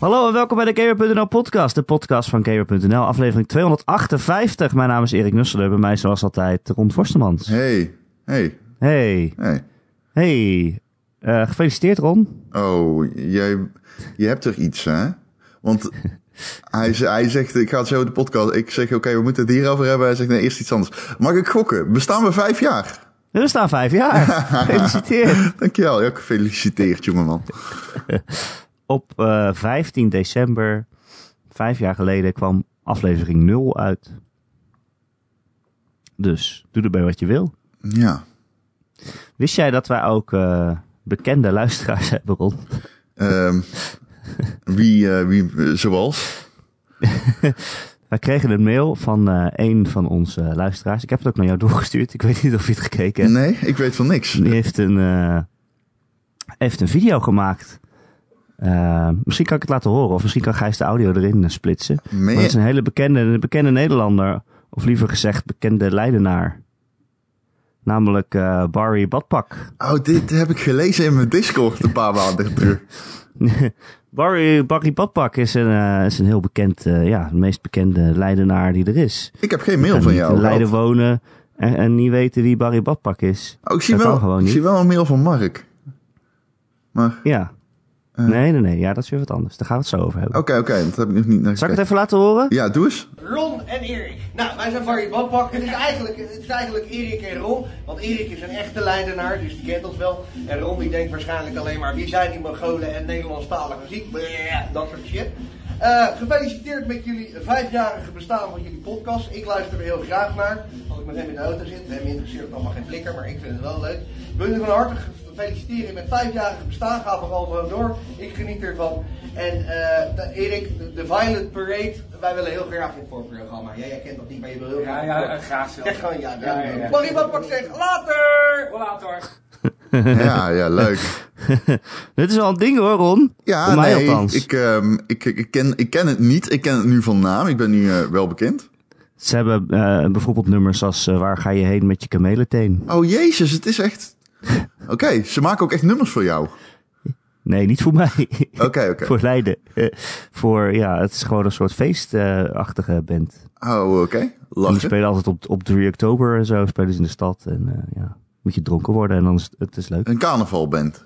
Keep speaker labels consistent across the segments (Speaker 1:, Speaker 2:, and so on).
Speaker 1: Hallo en welkom bij de Gamer.nl podcast, de podcast van Gamer.nl, aflevering 258. Mijn naam is Erik Nusselder, bij mij zoals altijd Ron Forstemans.
Speaker 2: Hey, hey,
Speaker 1: Hey,
Speaker 2: hey.
Speaker 1: hey, Eh, gefeliciteerd Ron.
Speaker 2: Oh, jij, je hebt er iets, hè? Want hij, z- hij zegt, ik ga het zo in de podcast. Ik zeg, oké, we moeten het hierover hebben. Hij zegt, nee, eerst iets anders. Mag ik gokken? Bestaan we vijf jaar?
Speaker 1: We staan vijf jaar, gefeliciteerd.
Speaker 2: Dankjewel. Ja, gefeliciteerd, jongeman.
Speaker 1: Op eh, 15 december, vijf jaar geleden, kwam aflevering 0 uit. Dus, doe erbij wat je wil.
Speaker 2: Ja.
Speaker 1: Wist jij dat wij ook eh, bekende luisteraars hebben, Ron?
Speaker 2: Ehm, wie, eh, wie, eh, zoals?
Speaker 1: Wij kregen een mail van eh een van onze eh, luisteraars. Ik heb het ook naar jou doorgestuurd. Ik weet niet of je het gekeken hebt.
Speaker 2: Nee, ik weet van niks.
Speaker 1: Die heeft een, eh, heeft een video gemaakt. Eh, misschien kan ik het laten horen. Of misschien kan Gijs de audio erin eh, splitsen. Maar het is
Speaker 2: Meer?
Speaker 1: een hele bekende, een bekende Nederlander. Of liever gezegd, bekende Leidenaar. Namelijk eh, Barry Badpak.
Speaker 2: Oh, dit heb ik gelezen in mijn Discord een paar maanden terug.
Speaker 1: Barry, Barry Badpak is een, eh, is een heel bekend, eh, ja, de meest bekende Leidenaar die er is.
Speaker 2: Ik heb geen mail van
Speaker 1: niet
Speaker 2: jou.
Speaker 1: in Leiden
Speaker 2: gehad.
Speaker 1: wonen en, en niet weten wie Barry Badpak is.
Speaker 2: Oh, ik zie
Speaker 1: Dat kan gewoon
Speaker 2: wel, ik
Speaker 1: niet.
Speaker 2: zie wel een mail van Mark. Maar...
Speaker 1: Ja.
Speaker 2: Eh.
Speaker 1: Nee, nee, nee. Ja, dat is weer wat anders. Daar gaan we het zo over hebben.
Speaker 2: Oké, oké, dat heb ik nog niet naar
Speaker 1: Zal ik het
Speaker 2: gekeken.
Speaker 1: even laten horen?
Speaker 2: Ja, doe eens.
Speaker 3: Ron en Erik. Nou, wij zijn Barry Badpak. Het is eigenlijk, het is eigenlijk Erik en Ron. Want Erik is een echte Leidenaar, dus die kent ons wel. En Ron die denkt waarschijnlijk alleen maar... Wie zijn die Mongolen en Nederlandstalige muziek? Bleh, dat soort shit. Eh, gefeliciteerd met jullie vijfjarige bestaan van jullie podcast. Ik luister er heel graag naar. Als ik met hem in de auto zit. Hem interesseert het allemaal geen flikker, maar ik vind het wel leuk. Ik wil jullie van harte feliciteren met vijfjarige bestaan. Ga vooral zo door. Ik geniet ervan. En eh, de- Erik, de, de Violent Parade. Wij willen heel graag dit voorprogramma. Ja, jij kent dat niet, maar je wil heel
Speaker 4: Ja,
Speaker 3: graag.
Speaker 4: ja, graag zelf.
Speaker 3: Zeg gewoon ja.
Speaker 4: Ja,
Speaker 3: ja,
Speaker 4: ja, ja.
Speaker 3: Barry Badpak zegt later!
Speaker 4: Rollator.
Speaker 2: Ja, ja, leuk.
Speaker 1: Dit is wel een ding hoor, Ron.
Speaker 2: Ja,
Speaker 1: Voor mij
Speaker 2: nee,
Speaker 1: althans.
Speaker 2: Ik, ehm, ik, ik, ken, ik ken het niet. Ik ken het nu van naam. Ik ben nu eh, wel bekend.
Speaker 1: Ze hebben eh, bijvoorbeeld nummers als eh, Waar ga je heen met je kamelenteen?
Speaker 2: Oh, jezus, het is echt... Oké, ze maken ook echt nummers voor jou.
Speaker 1: Nee, niet voor mij.
Speaker 2: Oké, oké.
Speaker 1: voor Leiden. Eh, voor, ja, het is gewoon een soort feestachtige eh, band.
Speaker 2: Oh, oké.
Speaker 1: En die
Speaker 2: Lachen.
Speaker 1: spelen altijd op, op 3 oktober en zo. Spelen ze in de stad. En eh, ja, moet je dronken worden en dan is het, het is leuk.
Speaker 2: Een carnavalband.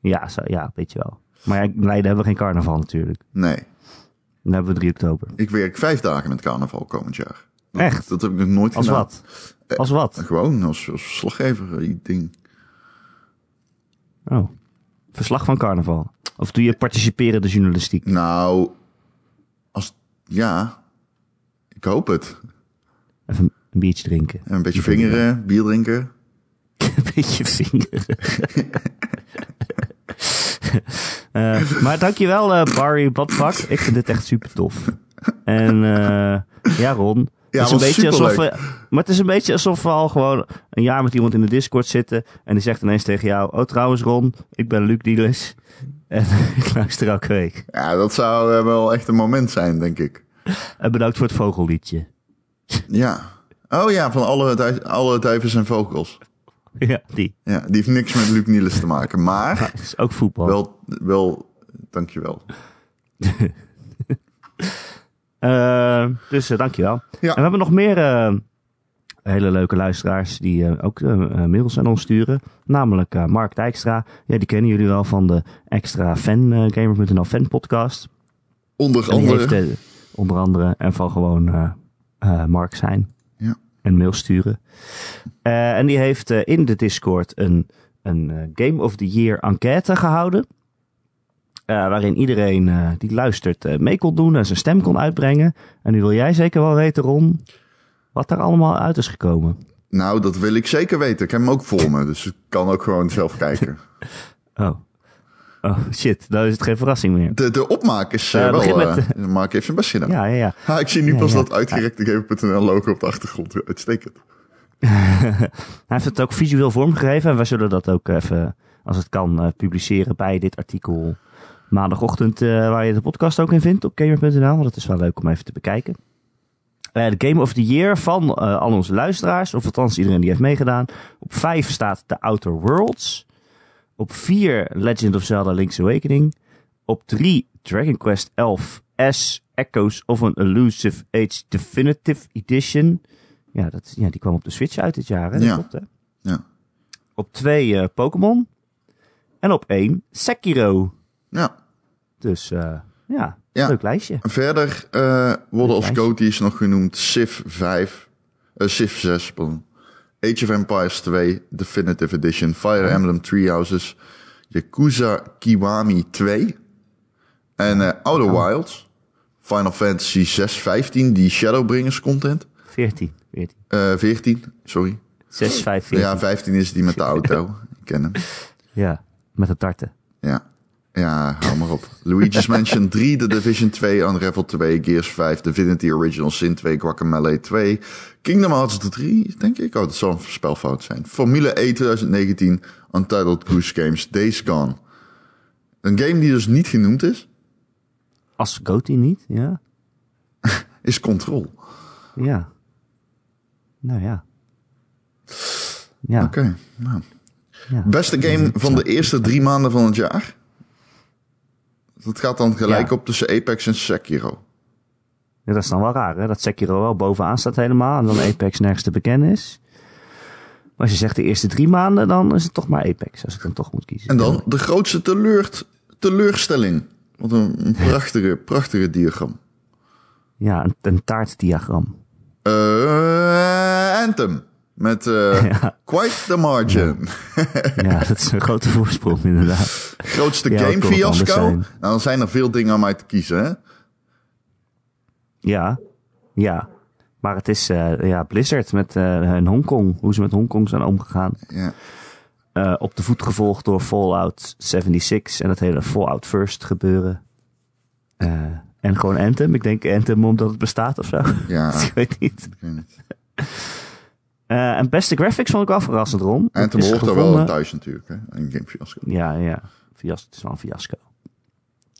Speaker 1: Ja, zo, ja, weet je wel. Maar ja, in Leiden hebben we geen carnaval natuurlijk.
Speaker 2: Nee,
Speaker 1: Dan hebben we 3 oktober.
Speaker 2: ik werk vijf dagen met carnaval komend jaar.
Speaker 1: Echt?
Speaker 2: Dat heb ik nog nooit
Speaker 1: Als
Speaker 2: gedaan.
Speaker 1: wat? Als wat?
Speaker 2: Gewoon, als, als slaggever, eh, die ding.
Speaker 1: Oh. Verslag van carnaval. Of doe je participerende journalistiek?
Speaker 2: Nou, als... Ja, ik hoop het.
Speaker 1: Even een biertje drinken.
Speaker 2: En Een beetje vingeren, bier drinken.
Speaker 1: een beetje vingeren. Eh, maar dankjewel eh Barry Badpak. Ik vind dit echt super tof. En eh, ja Ron. het is een
Speaker 2: was
Speaker 1: beetje alsof
Speaker 2: superleuk.
Speaker 1: we, maar het is een beetje alsof we al gewoon een jaar met iemand in de Discord zitten. En die zegt ineens tegen jou. Oh trouwens Ron, ik ben Luc Dielis. En ik luister elke week.
Speaker 2: Ja, dat zou eh, wel echt een moment zijn, denk ik.
Speaker 1: En bedankt voor het vogelliedje.
Speaker 2: Ja. Oh ja, van alle, du- alle duivens en vogels.
Speaker 1: ja, die.
Speaker 2: Ja, die heeft niks met Luc Niels te maken, maar
Speaker 1: Dat is ook voetbal.
Speaker 2: wel, wel dankjewel.
Speaker 1: Eh, dus eh, dankjewel.
Speaker 2: Ja.
Speaker 1: En we hebben nog meer eh, hele leuke luisteraars die eh, ook eh, eh, mails aan ons sturen. Namelijk eh, Mark Dijkstra. Ja, die kennen jullie wel van de extra fan eh, gamer.nl fan podcast.
Speaker 2: Onder
Speaker 1: En die
Speaker 2: andere.
Speaker 1: heeft, eh, onder andere en van gewoon eh, eh, Mark zijn.
Speaker 2: Ja.
Speaker 1: En mail sturen. Eh, en die heeft eh, in de Discord een, een eh, Game of the Year enquête gehouden. Eh, waarin iedereen eh, die luistert eh, mee kon doen en zijn stem kon uitbrengen. En nu wil jij zeker wel weten, Ron, wat daar allemaal uit is gekomen.
Speaker 2: Nou, dat wil ik zeker weten. Ik heb hem ook voor me, dus ik kan ook gewoon zelf kijken.
Speaker 1: Oh, oh shit, nou is het geen verrassing meer.
Speaker 2: De, de opmaak is eh,
Speaker 1: Eh,
Speaker 2: wel...
Speaker 1: begin met,
Speaker 2: eh, Mark heeft zijn best gedaan.
Speaker 1: Ja, ja, ja.
Speaker 2: Ha, ik zie nu
Speaker 1: Ja,
Speaker 2: pas
Speaker 1: ja.
Speaker 2: dat uitgerekte Gamer.nl logo op de achtergrond. Uitstekend.
Speaker 1: Hij heeft het ook visueel vormgegeven. En wij zullen dat ook even, als het kan, eh, publiceren bij dit artikel. Maandagochtend, eh, waar je de podcast ook in vindt op gamer.nl. Want het is wel leuk om even te bekijken. Eh, De Game of the Year van eh, al onze luisteraars. Of althans iedereen die heeft meegedaan. Op 5 staat The Outer Worlds. Op 4 Legend of Zelda Link's Awakening. Op 3 Dragon Quest 11 S Echoes of an Elusive Age Definitive Edition. Ja, dat, ja die kwam op de Switch uit dit jaar. Hè? Dat
Speaker 2: Ja.
Speaker 1: klopt, hè?
Speaker 2: Ja.
Speaker 1: Op 2 eh Pokémon. En op 1 Sekiro.
Speaker 2: ja.
Speaker 1: Dus eh, ja,
Speaker 2: Ja.
Speaker 1: leuk lijstje.
Speaker 2: Verder eh, worden als
Speaker 1: Nice.
Speaker 2: Coties nog genoemd Civ 5, eh, Civ 6, pardon. Age of Empires 2 Definitive Edition, Fire Emblem Three Houses, Yakuza Kiwami 2 en eh Outer Wilds, Final Fantasy 6, 15, die Shadowbringers content,
Speaker 1: 14. 14.
Speaker 2: Eh 14, sorry.
Speaker 1: 6, 5, 14.
Speaker 2: Ja, 15 is die met de auto, ik ken hem.
Speaker 1: Ja, met de tarten.
Speaker 2: Ja. Ja, hou maar op. Luigi's Mansion 3, The Division 2, Unravel 2, Gears 5, Divinity Original Sin 2, Guacamelee 2, Kingdom Hearts 3, denk ik. Oh, dat zal een spelfout zijn. Formule E 2019, Untitled Goose Games, Days Gone. Een game die dus niet genoemd is,
Speaker 1: Als Goatie niet, ja.
Speaker 2: is Control.
Speaker 1: Ja. Nou ja. Ja,
Speaker 2: Oké, nou.
Speaker 1: ja.
Speaker 2: Beste game van de eerste drie maanden van het jaar. Dat gaat dan gelijk
Speaker 1: Ja.
Speaker 2: op tussen Apex en Sekiro.
Speaker 1: Ja, dat is dan wel raar, hè? Dat Sekiro wel bovenaan staat helemaal en dan Apex nergens te bekennen is. Maar als je zegt de eerste drie maanden, dan is het toch maar Apex, als ik dan toch moet kiezen.
Speaker 2: En dan de grootste teleurt, teleurstelling. Wat een, een prachtige, prachtige diagram.
Speaker 1: Ja, een, een taartdiagram.
Speaker 2: Eh Anthem. Met eh,
Speaker 1: Ja.
Speaker 2: quite the margin.
Speaker 1: Ja, dat is een grote voorsprong inderdaad.
Speaker 2: Grootste
Speaker 1: Ja, dat
Speaker 2: game
Speaker 1: kon het anders
Speaker 2: fiasco. Nou,
Speaker 1: zijn.
Speaker 2: dan zijn er veel dingen om uit te kiezen. Hè?
Speaker 1: Ja, ja. Maar het is eh, ja, Blizzard met eh in Hongkong, hoe ze met Hongkong zijn omgegaan.
Speaker 2: Ja.
Speaker 1: Eh, op de voet gevolgd door Fallout 76 en dat hele Fallout First gebeuren. Eh, en gewoon Anthem. Ik denk Anthem omdat het bestaat of zo.
Speaker 2: Ja.
Speaker 1: ik weet niet.
Speaker 2: ik weet niet.
Speaker 1: Eh, en beste graphics vond ik wel verrassend, Ron. Dat
Speaker 2: Anthem
Speaker 1: is
Speaker 2: hoort er
Speaker 1: gevonden-
Speaker 2: wel thuis natuurlijk. Hè? Een game fiasco.
Speaker 1: Ja, ja. Fias het is wel een fiasco.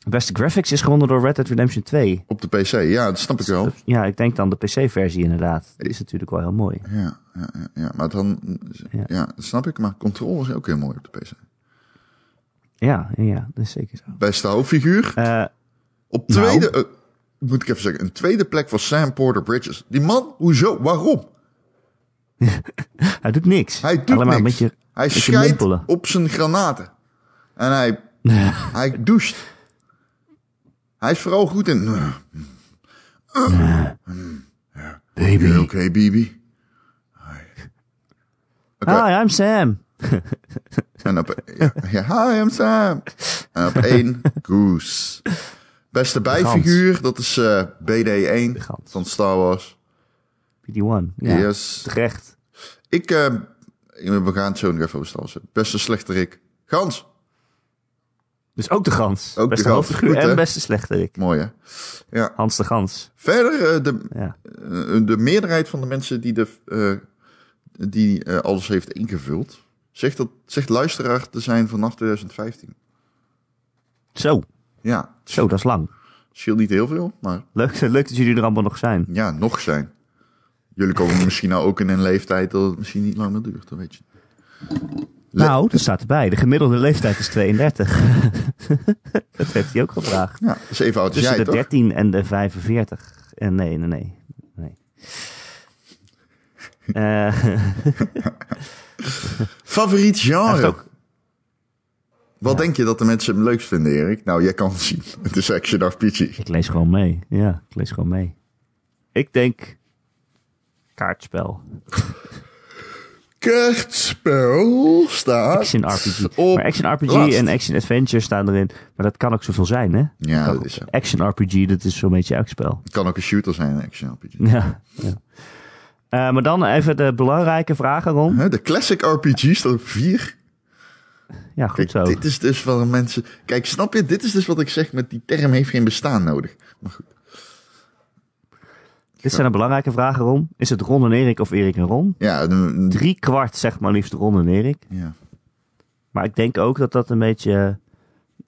Speaker 1: Beste graphics is gewonnen door Red Dead Redemption 2.
Speaker 2: Op de PC, ja, dat snap ik wel.
Speaker 1: Ja, ik denk dan de PC-versie inderdaad. Dat is natuurlijk wel heel mooi.
Speaker 2: Ja, ja, ja, ja. maar dan... Ja.
Speaker 1: Ja.
Speaker 2: dat snap ik. Maar Control was ook heel mooi op de PC.
Speaker 1: Ja, ja, ja, dat is zeker zo.
Speaker 2: Beste hoofdfiguur.
Speaker 1: Eh,
Speaker 2: Op
Speaker 1: Nou.
Speaker 2: tweede, eh, moet ik even zeggen, een tweede plek was Sam Porter Bridges. Die man, hoezo? Waarom?
Speaker 1: hij doet niks.
Speaker 2: Hij doet
Speaker 1: Alleen maar
Speaker 2: niks.
Speaker 1: een beetje...
Speaker 2: hij
Speaker 1: beetje
Speaker 2: scheidt
Speaker 1: mompelen.
Speaker 2: op zijn granaten. En hij, hij doucht. Hij is vooral goed in... Nou,
Speaker 1: Baby.
Speaker 2: Oké, baby. Oké.
Speaker 1: Hi, Ah, I'm Sam.
Speaker 2: En op... Ja, ja, hi, I'm Sam. En op één, Goose. Beste bijfiguur, dat is eh, BD1
Speaker 1: gans.
Speaker 2: van Star Wars.
Speaker 1: PD1. Ja,
Speaker 2: Yes.
Speaker 1: terecht.
Speaker 2: Ik, eh, we gaan het zo nog even over Star Wars hebben. Beste slechterik. Gans.
Speaker 1: Dus ook de gans.
Speaker 2: Ook de
Speaker 1: beste
Speaker 2: gans.
Speaker 1: hoofdfiguur
Speaker 2: Goed, hè?
Speaker 1: en beste slechterik.
Speaker 2: Mooi, hè? Ja.
Speaker 1: Hans de Gans.
Speaker 2: Verder, eh, de,
Speaker 1: Ja.
Speaker 2: eh, de meerderheid van de mensen die, de, eh, die eh, alles heeft ingevuld, zegt, dat, zegt luisteraar te zijn vanaf 2015.
Speaker 1: Zo,
Speaker 2: Ja, het
Speaker 1: zo, dat is lang.
Speaker 2: scheelt niet heel veel, maar
Speaker 1: Leuk, leuk dat jullie er allemaal nog zijn.
Speaker 2: ja, nog zijn. Jullie komen misschien nou ook in een leeftijd dat het misschien niet lang meer duurt, dat weet je. Le-
Speaker 1: nou, dat staat erbij. De gemiddelde leeftijd is 32. dat heeft hij ook gevraagd.
Speaker 2: Ja, dat is even oud als
Speaker 1: Tussen
Speaker 2: jij,
Speaker 1: de
Speaker 2: toch?
Speaker 1: 13 en de 45. En nee, nee, nee. nee. Eh, hij
Speaker 2: Favoriet
Speaker 1: heeft
Speaker 2: genre?
Speaker 1: ook,
Speaker 2: Wat denk je dat de mensen hem leukst vinden, Erik? Nou, jij kan het zien. Het is action RPG.
Speaker 1: ik lees gewoon mee. Ja, ik lees gewoon mee. Ik denk kaartspel.
Speaker 2: Kaartspel staat
Speaker 1: Action RPG.
Speaker 2: op
Speaker 1: maar action RPG
Speaker 2: laatst.
Speaker 1: en action Oh, adventure staan erin. Maar dat kan ook zoveel zijn, hè?
Speaker 2: Ja,
Speaker 1: Kan
Speaker 2: dat
Speaker 1: ook.
Speaker 2: is zo.
Speaker 1: Action RPG, dat is zo'n beetje elk spel.
Speaker 2: Het kan ook een shooter zijn, een action RPG.
Speaker 1: Ja. ja. Eh, maar dan even de belangrijke vragen, Ron.
Speaker 2: Hè, De classic RPG staat op 4.
Speaker 1: Ja, goed
Speaker 2: Kijk,
Speaker 1: zo.
Speaker 2: dit is dus wat mensen... Kijk, snap je? Dit is dus wat ik zeg met die term heeft geen bestaan nodig. Maar goed.
Speaker 1: Dit zijn de belangrijke vragen, Ron. Is het Ron en Erik of Erik en Ron?
Speaker 2: Ja, de- de-
Speaker 1: Drie kwart zegt maar liefst Ron en Erik.
Speaker 2: ja.
Speaker 1: Maar ik denk ook dat dat een beetje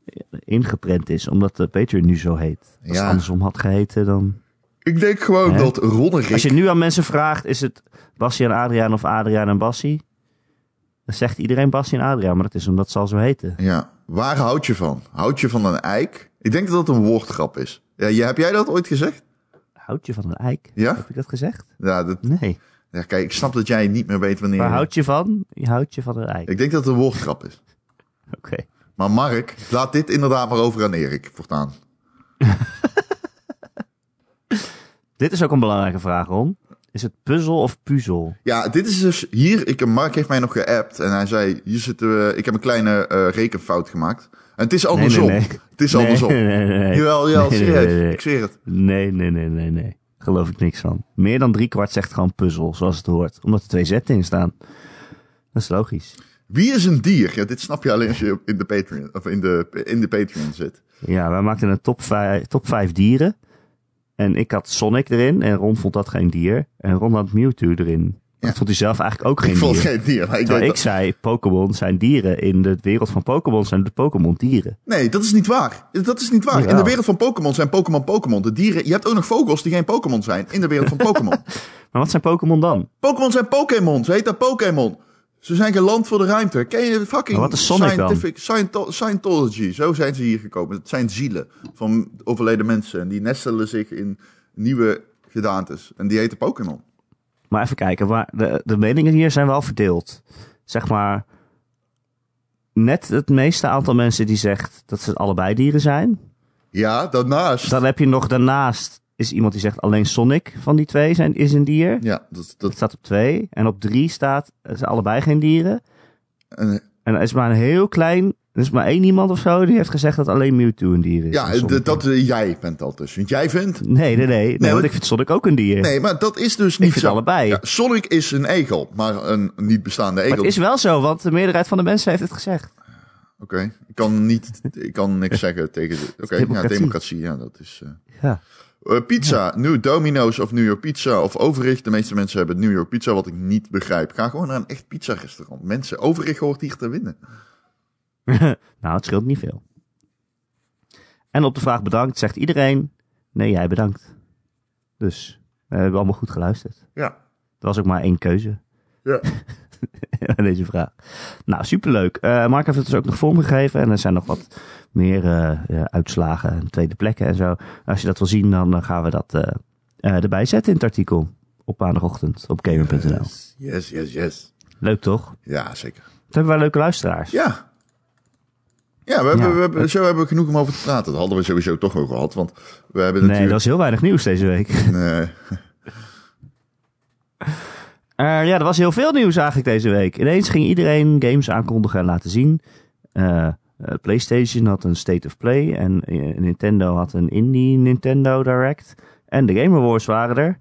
Speaker 1: eh, ingeprent is, omdat de Patreon nu zo heet. Als
Speaker 2: Ja.
Speaker 1: het andersom had geheten, dan...
Speaker 2: Ik denk gewoon
Speaker 1: Hè?
Speaker 2: dat Ronnerik...
Speaker 1: Als je nu aan mensen vraagt, is het Bassie en Adriaan of Adriaan en Bassie? Dan zegt iedereen Bassie en Adriaan, maar dat is omdat ze al zo heten.
Speaker 2: Ja, waar houd je van? Houd je van een eik? Ik denk dat dat een woordgrap is. Ja, je- heb jij dat ooit gezegd?
Speaker 1: Houd je van een eik?
Speaker 2: Ja?
Speaker 1: Heb ik dat gezegd?
Speaker 2: Ja, dat,
Speaker 1: Nee.
Speaker 2: ja, kijk, ik snap dat jij niet meer weet wanneer...
Speaker 1: Waar houd je van? Je houdt je van een eik.
Speaker 2: Ik denk dat het een woordgrap is.
Speaker 1: Oké.
Speaker 2: Maar Mark, laat dit inderdaad maar over aan Erik voortaan.
Speaker 1: Dit is ook een belangrijke vraag, Ron. Is het puzzel of puzzel?
Speaker 2: Ja, dit is dus hier. Ik, Mark heeft mij nog geappt en hij zei: hier zitten we, Ik heb een kleine eh, rekenfout gemaakt. En het is andersom.
Speaker 1: nee, nee.
Speaker 2: Het is
Speaker 1: Nee,
Speaker 2: andersom.
Speaker 1: nee, nee, nee.
Speaker 2: Jawel, jawel,
Speaker 1: Nee, nee,
Speaker 2: serieus.
Speaker 1: nee, nee.
Speaker 2: Ik zweer het.
Speaker 1: Nee, nee, nee, nee, nee. Geloof ik niks van. Meer dan driekwart zegt gewoon puzzel, zoals het hoort. Omdat er twee zetten in staan. Dat is logisch.
Speaker 2: Wie is een dier? Ja, dit snap je alleen als je in de Patreon, of in de, in de Patreon zit.
Speaker 1: Ja, wij maakten een top 5, top vijf dieren. En ik had Sonic erin en Ron vond dat geen dier. En Ron had Mewtwo erin. Dat vond hij zelf eigenlijk ook geen
Speaker 2: ik vond
Speaker 1: dier.
Speaker 2: het geen dier. Maar ik
Speaker 1: Terwijl
Speaker 2: weet
Speaker 1: ik
Speaker 2: dat-
Speaker 1: zei, Pokémon zijn dieren. In de wereld van Pokémon zijn de Pokémon dieren.
Speaker 2: Nee, dat is niet waar. Dat is niet waar. In de
Speaker 1: Jawel.
Speaker 2: wereld van Pokémon zijn Pokémon Pokémon. De dieren. Je hebt ook nog vogels die geen Pokémon zijn in de wereld van Pokémon.
Speaker 1: Maar wat zijn Pokémon dan?
Speaker 2: Pokémon zijn Pokémon. Ze heet dat Pokémon. Ze zijn geland voor de ruimte. Ken je de fucking
Speaker 1: Maar wat is Sonic dan?
Speaker 2: scientific Sciento- Scientology? Zo zijn ze hier gekomen. Het zijn zielen van overleden mensen. En die nestelen zich in nieuwe gedaantes. En die heten Pokémon.
Speaker 1: Maar even kijken, waar, de, de meningen hier zijn wel verdeeld. Zeg maar, net het meeste aantal mensen die zegt dat ze allebei dieren zijn.
Speaker 2: Ja, daarnaast.
Speaker 1: Dan heb je nog daarnaast is iemand die zegt alleen Sonic van die twee zijn, is een dier.
Speaker 2: Ja, dat,
Speaker 1: Dat
Speaker 2: dat,
Speaker 1: staat op twee. En op drie staat, eh, ze allebei geen dieren.
Speaker 2: en,
Speaker 1: En er is maar een heel klein, er is maar één iemand of zo die heeft gezegd dat alleen Mewtwo een dier is.
Speaker 2: ja,
Speaker 1: En Sonic
Speaker 2: d- dat eh, jij bent dat dus. Want jij vindt...
Speaker 1: niet. Nee, nee, nee. nee,
Speaker 2: want-
Speaker 1: want ik vind Sonic ook een dier.
Speaker 2: Nee, maar dat is dus niet
Speaker 1: ik vind
Speaker 2: zo.
Speaker 1: allebei.
Speaker 2: Ja, Sonic is een egel, maar een niet bestaande egel.
Speaker 1: maar het is wel zo, want de meerderheid van de mensen heeft het gezegd.
Speaker 2: Oké, ik kan niet, ik kan niks zeggen tegen de. Oké, ja,
Speaker 1: Democratie.
Speaker 2: democratie, ja, dat is. eh.
Speaker 1: Ja.
Speaker 2: Eh, pizza, nu Domino's of New York Pizza of Overig. De meeste mensen hebben New York Pizza, wat ik niet begrijp. Ga gewoon naar een echt pizza restaurant. Mensen, Overig hoort hier te winnen.
Speaker 1: Nou, het scheelt niet veel. En op de vraag bedankt zegt iedereen: nee, jij bedankt. Dus we hebben allemaal goed geluisterd.
Speaker 2: Ja,
Speaker 1: Er was ook maar één keuze
Speaker 2: ja.
Speaker 1: aan deze vraag. Nou, superleuk. Eh, Mark heeft het dus ook nog vorm gegeven. En er zijn nog wat meer eh, eh, uitslagen en tweede plekken en zo. Als je dat wil zien, dan eh, gaan we dat eh, eh, erbij zetten in het artikel. Op maandagochtend op gamer.nl.
Speaker 2: Yes, yes, yes.
Speaker 1: Leuk toch? Toen
Speaker 2: Ja, zeker.
Speaker 1: hebben wij leuke luisteraars.
Speaker 2: Ja. Ja, we hebben,
Speaker 1: Ja.
Speaker 2: we hebben, zo hebben we genoeg om over te praten. Dat hadden we sowieso toch al gehad, want we hebben
Speaker 1: nee, dat
Speaker 2: natuurlijk...
Speaker 1: is heel weinig nieuws deze week.
Speaker 2: eh,
Speaker 1: Eh, ja, er was heel veel nieuws eigenlijk deze week. Ineens ging iedereen games aankondigen en laten zien. Eh, eh, PlayStation had een State of Play en eh, Nintendo had een Indie Nintendo Direct. En de Game Awards waren er.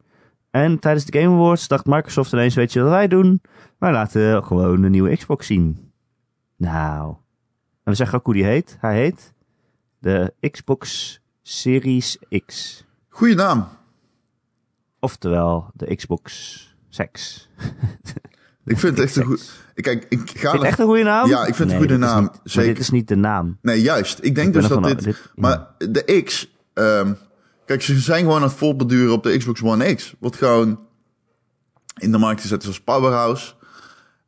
Speaker 1: En tijdens de Game Awards dacht Microsoft ineens, weet je wat wij doen? Wij laten gewoon een nieuwe Xbox zien. Nou. En we zeggen ook hoe die heet. Hij heet de Xbox Series X.
Speaker 2: goeie naam.
Speaker 1: Oftewel de Xbox 6.
Speaker 2: Ik vind het echt een
Speaker 1: Xbox.
Speaker 2: goed... Kijk, ik ga...
Speaker 1: Vind je
Speaker 2: er-
Speaker 1: het echt een goede naam?
Speaker 2: Oh, Ja, ik vind het een goede
Speaker 1: dit is
Speaker 2: naam,
Speaker 1: niet- maar
Speaker 2: zeker.
Speaker 1: dit is niet de naam.
Speaker 2: Nee, juist. Ik denk
Speaker 1: Ik ben
Speaker 2: dus dat
Speaker 1: ervan-
Speaker 2: dit...
Speaker 1: dit-
Speaker 2: Maar de X... ehm, kijk, ze zijn gewoon aan het voortbeduren op de Xbox One X. Wordt gewoon in de markt gezet als powerhouse.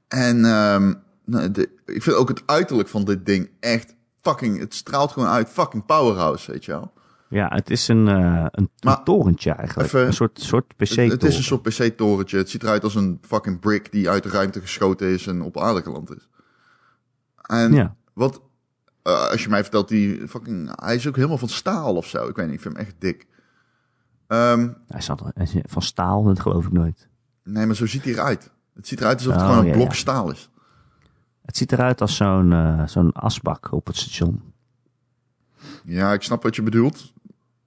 Speaker 2: En ehm, nou, de- ik vind ook het uiterlijk van dit ding echt fucking... Het straalt gewoon uit fucking powerhouse, weet je wel.
Speaker 1: Ja, het is een, eh, een,
Speaker 2: Maar-
Speaker 1: een torentje eigenlijk.
Speaker 2: Even-
Speaker 1: een soort, soort pc
Speaker 2: Het, het is een
Speaker 1: toren
Speaker 2: soort PC-torentje. Het ziet eruit als een fucking brick die uit de ruimte geschoten is en op aarde geland is. En
Speaker 1: Ja.
Speaker 2: wat... eh, als je mij vertelt, die fucking... Hij is ook helemaal van staal of zo. Ik weet niet, ik vind hem echt dik. Ehm,
Speaker 1: Hij is al- hij is van staal, dat geloof ik nooit.
Speaker 2: nee, maar zo ziet hij eruit. Het ziet eruit alsof het
Speaker 1: Oh,
Speaker 2: gewoon een
Speaker 1: ja,
Speaker 2: blok
Speaker 1: ja.
Speaker 2: staal is.
Speaker 1: Het ziet eruit als zo'n eh, zo'n asbak op het station.
Speaker 2: Ja, ik snap wat je bedoelt.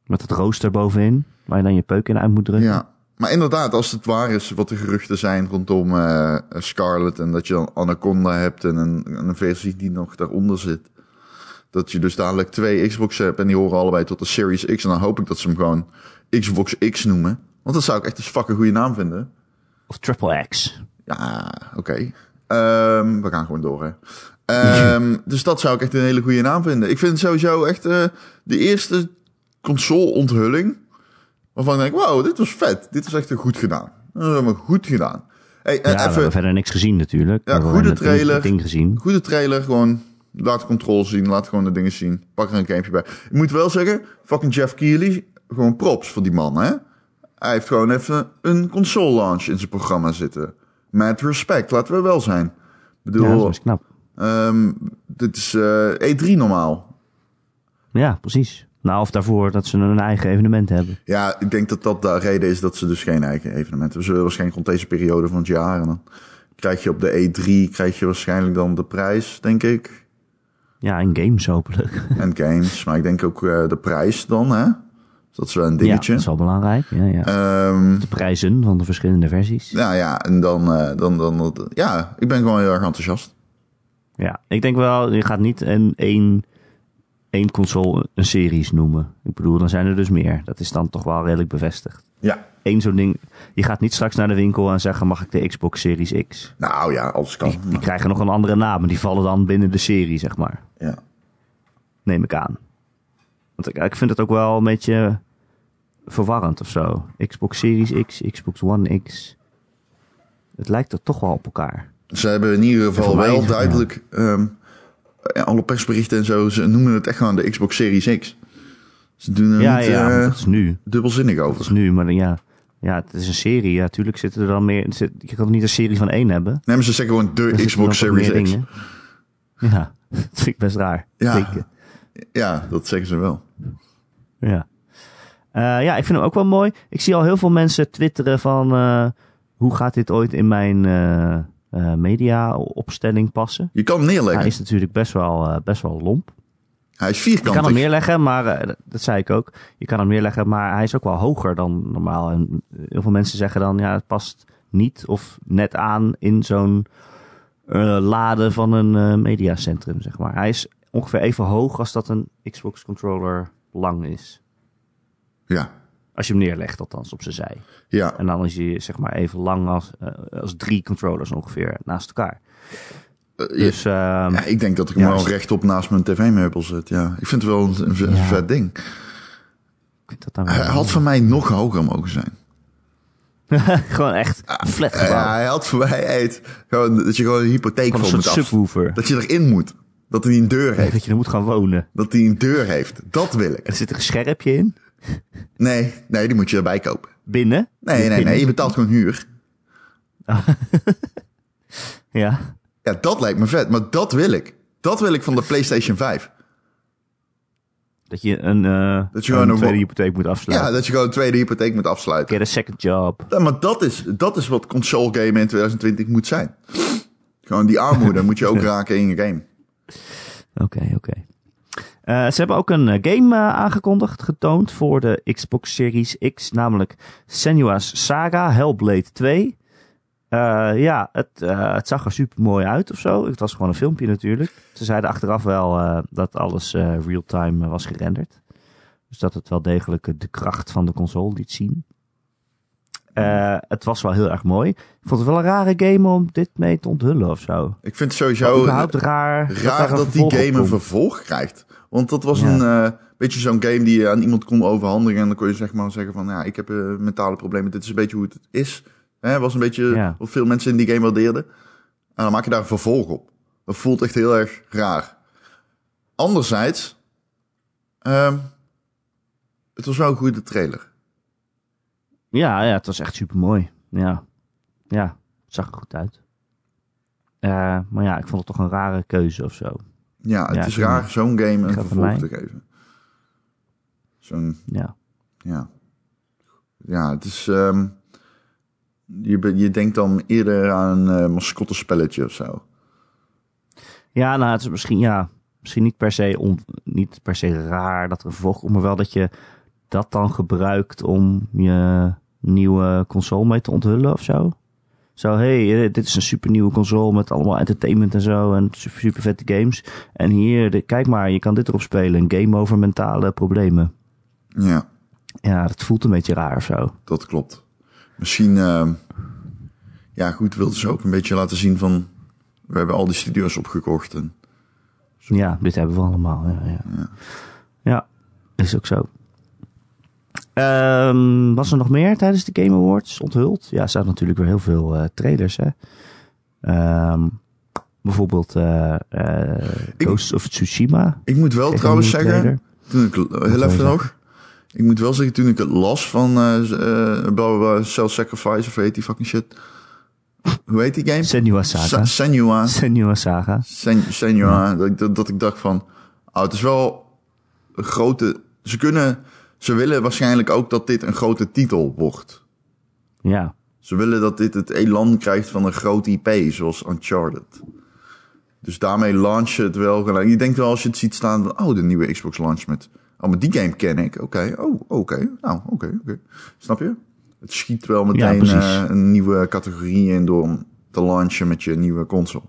Speaker 1: Met het rooster bovenin, waar je dan je peuk in uit moet drukken.
Speaker 2: Ja. Maar inderdaad, als het waar is wat de geruchten zijn rondom eh, Scarlet... en dat je dan Anaconda hebt en een, een versie die nog daaronder zit... dat je dus dadelijk twee Xbox hebt en die horen allebei tot de Series X... en dan hoop ik dat ze hem gewoon Xbox X noemen. Want dat zou ik echt een fucking goede naam vinden.
Speaker 1: Of triple X.
Speaker 2: Ja, oké. Ehm, we gaan gewoon door, hè. Ehm, dus dat zou ik echt een hele goede naam vinden. Ik vind het sowieso echt eh, de eerste console-onthulling... waarvan ik denk, wow, dit was vet. Dit is echt een goed gedaan. Dat is helemaal goed gedaan. Hey, en
Speaker 1: Ja, we
Speaker 2: even
Speaker 1: hebben verder niks gezien natuurlijk.
Speaker 2: Ja,
Speaker 1: We hebben
Speaker 2: goede
Speaker 1: alleen het ding-
Speaker 2: trailer.
Speaker 1: Het ding gezien.
Speaker 2: goede trailer, gewoon Laat controle zien, laat gewoon de dingen zien. Pak er een gamepje bij. Ik moet wel zeggen, fucking Jeff Keighley, gewoon props voor die man, hè? Hij heeft gewoon even een console launch in zijn programma zitten. Met respect, laten we wel zijn.
Speaker 1: Ja,
Speaker 2: Ik
Speaker 1: dat is
Speaker 2: bedoel,
Speaker 1: best knap.
Speaker 2: ehm, dit is eh, E3 normaal.
Speaker 1: Ja, precies. Nou, of daarvoor dat ze een eigen evenement hebben.
Speaker 2: Ja, ik denk dat dat de reden is dat ze dus geen eigen evenement hebben. Ze willen waarschijnlijk rond deze periode van het jaar. En dan krijg je op de E3 krijg je waarschijnlijk dan de prijs, denk ik.
Speaker 1: Ja, in games hopelijk.
Speaker 2: En games. Maar ik denk ook eh, de prijs dan, hè? Dus dat is wel een
Speaker 1: Ja,
Speaker 2: dingetje.
Speaker 1: dat is wel belangrijk. Ja, ja.
Speaker 2: Ehm,
Speaker 1: De prijzen van de verschillende versies.
Speaker 2: nou ja, en dan, eh, dan, dan, dan- Ja, ik ben gewoon heel erg enthousiast.
Speaker 1: Ja, ik denk wel, je gaat niet een één, één console een series noemen. Ik bedoel, dan zijn er dus meer. Dat is dan toch wel redelijk bevestigd.
Speaker 2: Ja.
Speaker 1: Eén zo'n ding. Je gaat niet straks naar de winkel en zeggen: mag ik de Xbox Series X?
Speaker 2: Nou ja, alles kan.
Speaker 1: Die krijgen nog een andere naam, maar die vallen dan binnen de serie, zeg maar.
Speaker 2: Ja.
Speaker 1: Neem ik aan. Want ik, ik vind het ook wel een beetje verwarrend of zo. Xbox Series X, Xbox One X. Het lijkt er toch wel op elkaar.
Speaker 2: Dus Ze hebben in ieder geval
Speaker 1: Even
Speaker 2: wel
Speaker 1: weinig,
Speaker 2: duidelijk... ehm, ja, alle persberichten en zo, ze noemen het echt gewoon de Xbox Series X. Ze doen er
Speaker 1: Ja,
Speaker 2: niet
Speaker 1: ja, maar
Speaker 2: eh,
Speaker 1: dat is nu.
Speaker 2: dubbelzinnig over.
Speaker 1: Dat is nu, maar ja. Ja, het is een serie. Ja, natuurlijk zitten er dan meer. Zit, je kan toch niet een serie van één hebben.
Speaker 2: Nee, maar ze zeggen gewoon de
Speaker 1: Er zitten
Speaker 2: Xbox
Speaker 1: dan wat
Speaker 2: Series
Speaker 1: meer
Speaker 2: X.
Speaker 1: dingen. Ja, dat vind ik best raar.
Speaker 2: Ja.
Speaker 1: Denken.
Speaker 2: Ja, dat zeggen ze wel.
Speaker 1: Ja. Eh, ja, ik vind hem ook wel mooi. Ik zie al heel veel mensen twitteren van... eh, hoe gaat dit ooit in mijn eh, eh, media-opstelling passen?
Speaker 2: Je kan hem neerleggen.
Speaker 1: Hij is natuurlijk best wel, eh, best wel lomp. Je
Speaker 2: vierkantig.
Speaker 1: kan hem neerleggen, maar eh, dat- dat zei ik ook. Je kan hem neerleggen, maar hij is ook wel hoger dan normaal. En eh, heel veel mensen zeggen dan, ja, het past niet of net aan in zo'n eh lade van een eh, mediacentrum, zeg maar. Hij is ongeveer even hoog als dat een Xbox controller lang is.
Speaker 2: Ja,
Speaker 1: Als je hem neerlegt, althans, op zijn zij.
Speaker 2: ja.
Speaker 1: En dan is hij zeg maar even lang als, eh, als drie controllers ongeveer naast elkaar.
Speaker 2: Eh, ja.
Speaker 1: Dus ehm,
Speaker 2: ja, ik denk dat ik hem
Speaker 1: Ja,
Speaker 2: wel
Speaker 1: is-
Speaker 2: rechtop naast mijn tv-meubel zet. Ja. Ik vind het wel een, een
Speaker 1: Ja.
Speaker 2: vet ding.
Speaker 1: ik vind dat dan
Speaker 2: Hij
Speaker 1: wel...
Speaker 2: had van mij nog hoger mogen zijn.
Speaker 1: gewoon echt flat
Speaker 2: Eh,
Speaker 1: gebouwd.
Speaker 2: hij had voor mij echt gewoon, dat je gewoon een hypotheek
Speaker 1: Van een
Speaker 2: voor
Speaker 1: soort
Speaker 2: moet af.
Speaker 1: subwoofer.
Speaker 2: Dat je erin moet. Dat hij een deur heeft.
Speaker 1: Dat je er moet gaan wonen.
Speaker 2: Dat hij een deur heeft. Dat wil ik.
Speaker 1: Er zit een scherpje in.
Speaker 2: Nee, nee, die moet je erbij kopen.
Speaker 1: Binnen.
Speaker 2: Nee, nee, nee. Je betaalt gewoon huur.
Speaker 1: Ja.
Speaker 2: Ja, dat lijkt me vet. Maar dat wil ik. Dat wil ik van de PlayStation 5.
Speaker 1: Dat je een, eh
Speaker 2: Dat je
Speaker 1: een
Speaker 2: gewoon een-
Speaker 1: tweede hypotheek moet afsluiten.
Speaker 2: Ja, dat je gewoon een tweede hypotheek moet afsluiten.
Speaker 1: Get a second job.
Speaker 2: Ja, maar dat is, dat is wat console gamen in 2020 moet zijn. Gewoon die armoede moet je ook raken in je game.
Speaker 1: Oké, oké. Eh, ze hebben ook een eh, game eh, aangekondigd, getoond voor de Xbox Series X, namelijk Senua's Saga Hellblade 2. Eh, ja, het, eh, het zag er super mooi uit of zo. Het was gewoon een filmpje natuurlijk. Ze zeiden achteraf wel eh, dat alles eh, real-time eh, was gerenderd. Dus dat het wel degelijk eh, de kracht van de console liet zien. Eh, het was wel heel erg mooi. Ik vond het wel een rare game om dit mee te onthullen of zo.
Speaker 2: Ik vind het
Speaker 1: Oh,
Speaker 2: sowieso
Speaker 1: überhaupt raar. daar
Speaker 2: raar
Speaker 1: een
Speaker 2: dat die
Speaker 1: vervolg op
Speaker 2: game een
Speaker 1: komt.
Speaker 2: vervolg krijgt. Want dat was
Speaker 1: Ja.
Speaker 2: een eh, beetje zo'n game die je aan iemand kon overhandigen. En dan kon je zeg maar zeggen van, ja, ik heb eh, mentale problemen. Dit is een beetje hoe het is. Hè, was een beetje
Speaker 1: Ja.
Speaker 2: wat veel mensen in die game waardeerden. En dan maak je daar een vervolg op. Dat voelt echt heel erg raar. Anderzijds, ehm, het was wel een goede trailer.
Speaker 1: Ja, ja, het was echt super mooi. Ja. ja, het zag er goed uit. Eh, maar ja, ik vond het toch een rare keuze of zo.
Speaker 2: Ja, het
Speaker 1: Ja,
Speaker 2: is
Speaker 1: ik
Speaker 2: raar zo'n game een
Speaker 1: Gaat van
Speaker 2: vervolg
Speaker 1: mij.
Speaker 2: te geven. Zo'n,
Speaker 1: Ja,
Speaker 2: ja. Ja, het is... ehm, je, be- je denkt dan eerder aan een eh mascottespelletje of zo.
Speaker 1: ja nou, het is misschien, ja, misschien niet, per se on, niet per se raar dat er een vervolg komt, maar wel dat je dat dan gebruikt om je nieuwe console mee te onthullen of zo. Zo, hé, hey, eh, dit is een super nieuwe console met allemaal entertainment en zo en super, super vette games. En hier, de- kijk maar, je kan dit erop spelen. Een game over mentale problemen.
Speaker 2: Ja,
Speaker 1: Ja, dat voelt een beetje raar of zo.
Speaker 2: dat klopt. Misschien... ehm, ja, goed, wilden ze ook een beetje laten zien van... We hebben al die studios opgekocht. En,
Speaker 1: Ja, dit hebben we allemaal. Ja, ja. ja. is ook zo. Ehm, was er nog meer tijdens de Game Awards onthuld? Ja, er zaten natuurlijk weer heel veel eh, trailers. Hè? Ehm, bijvoorbeeld eh, eh,
Speaker 2: Ik-
Speaker 1: Ghost of Tsushima.
Speaker 2: Ik moet wel
Speaker 1: Tegen
Speaker 2: trouwens
Speaker 1: Moon
Speaker 2: zeggen,
Speaker 1: Trader.
Speaker 2: toen ik, heel
Speaker 1: zou je
Speaker 2: even nog. Ik moet wel zeggen, toen ik het las van eh eh, bla bla bla, Cell Sacrifice of hoe heet die fucking shit. Hoe heet die game?
Speaker 1: Senua Saga.
Speaker 2: Sa- Senua.
Speaker 1: Senua Saga.
Speaker 2: Sen- Senua. Dat, ik- dat, dat ik dacht van, oh, het is wel een grote... Ze kunnen, ze willen waarschijnlijk ook dat dit een grote titel wordt.
Speaker 1: Ja.
Speaker 2: Ze willen dat dit het elan krijgt van een groot IP, zoals Uncharted. Dus daarmee launch je het wel gelijk. Je denkt wel als je het ziet staan van, oh, de nieuwe Xbox launch met... Oh, maar die game ken ik. Oké, oh, oké. Nou, oké, oké. Snap je? Het schiet wel meteen
Speaker 1: precies.
Speaker 2: eh, een nieuwe categorie in door hem te launchen met je nieuwe console.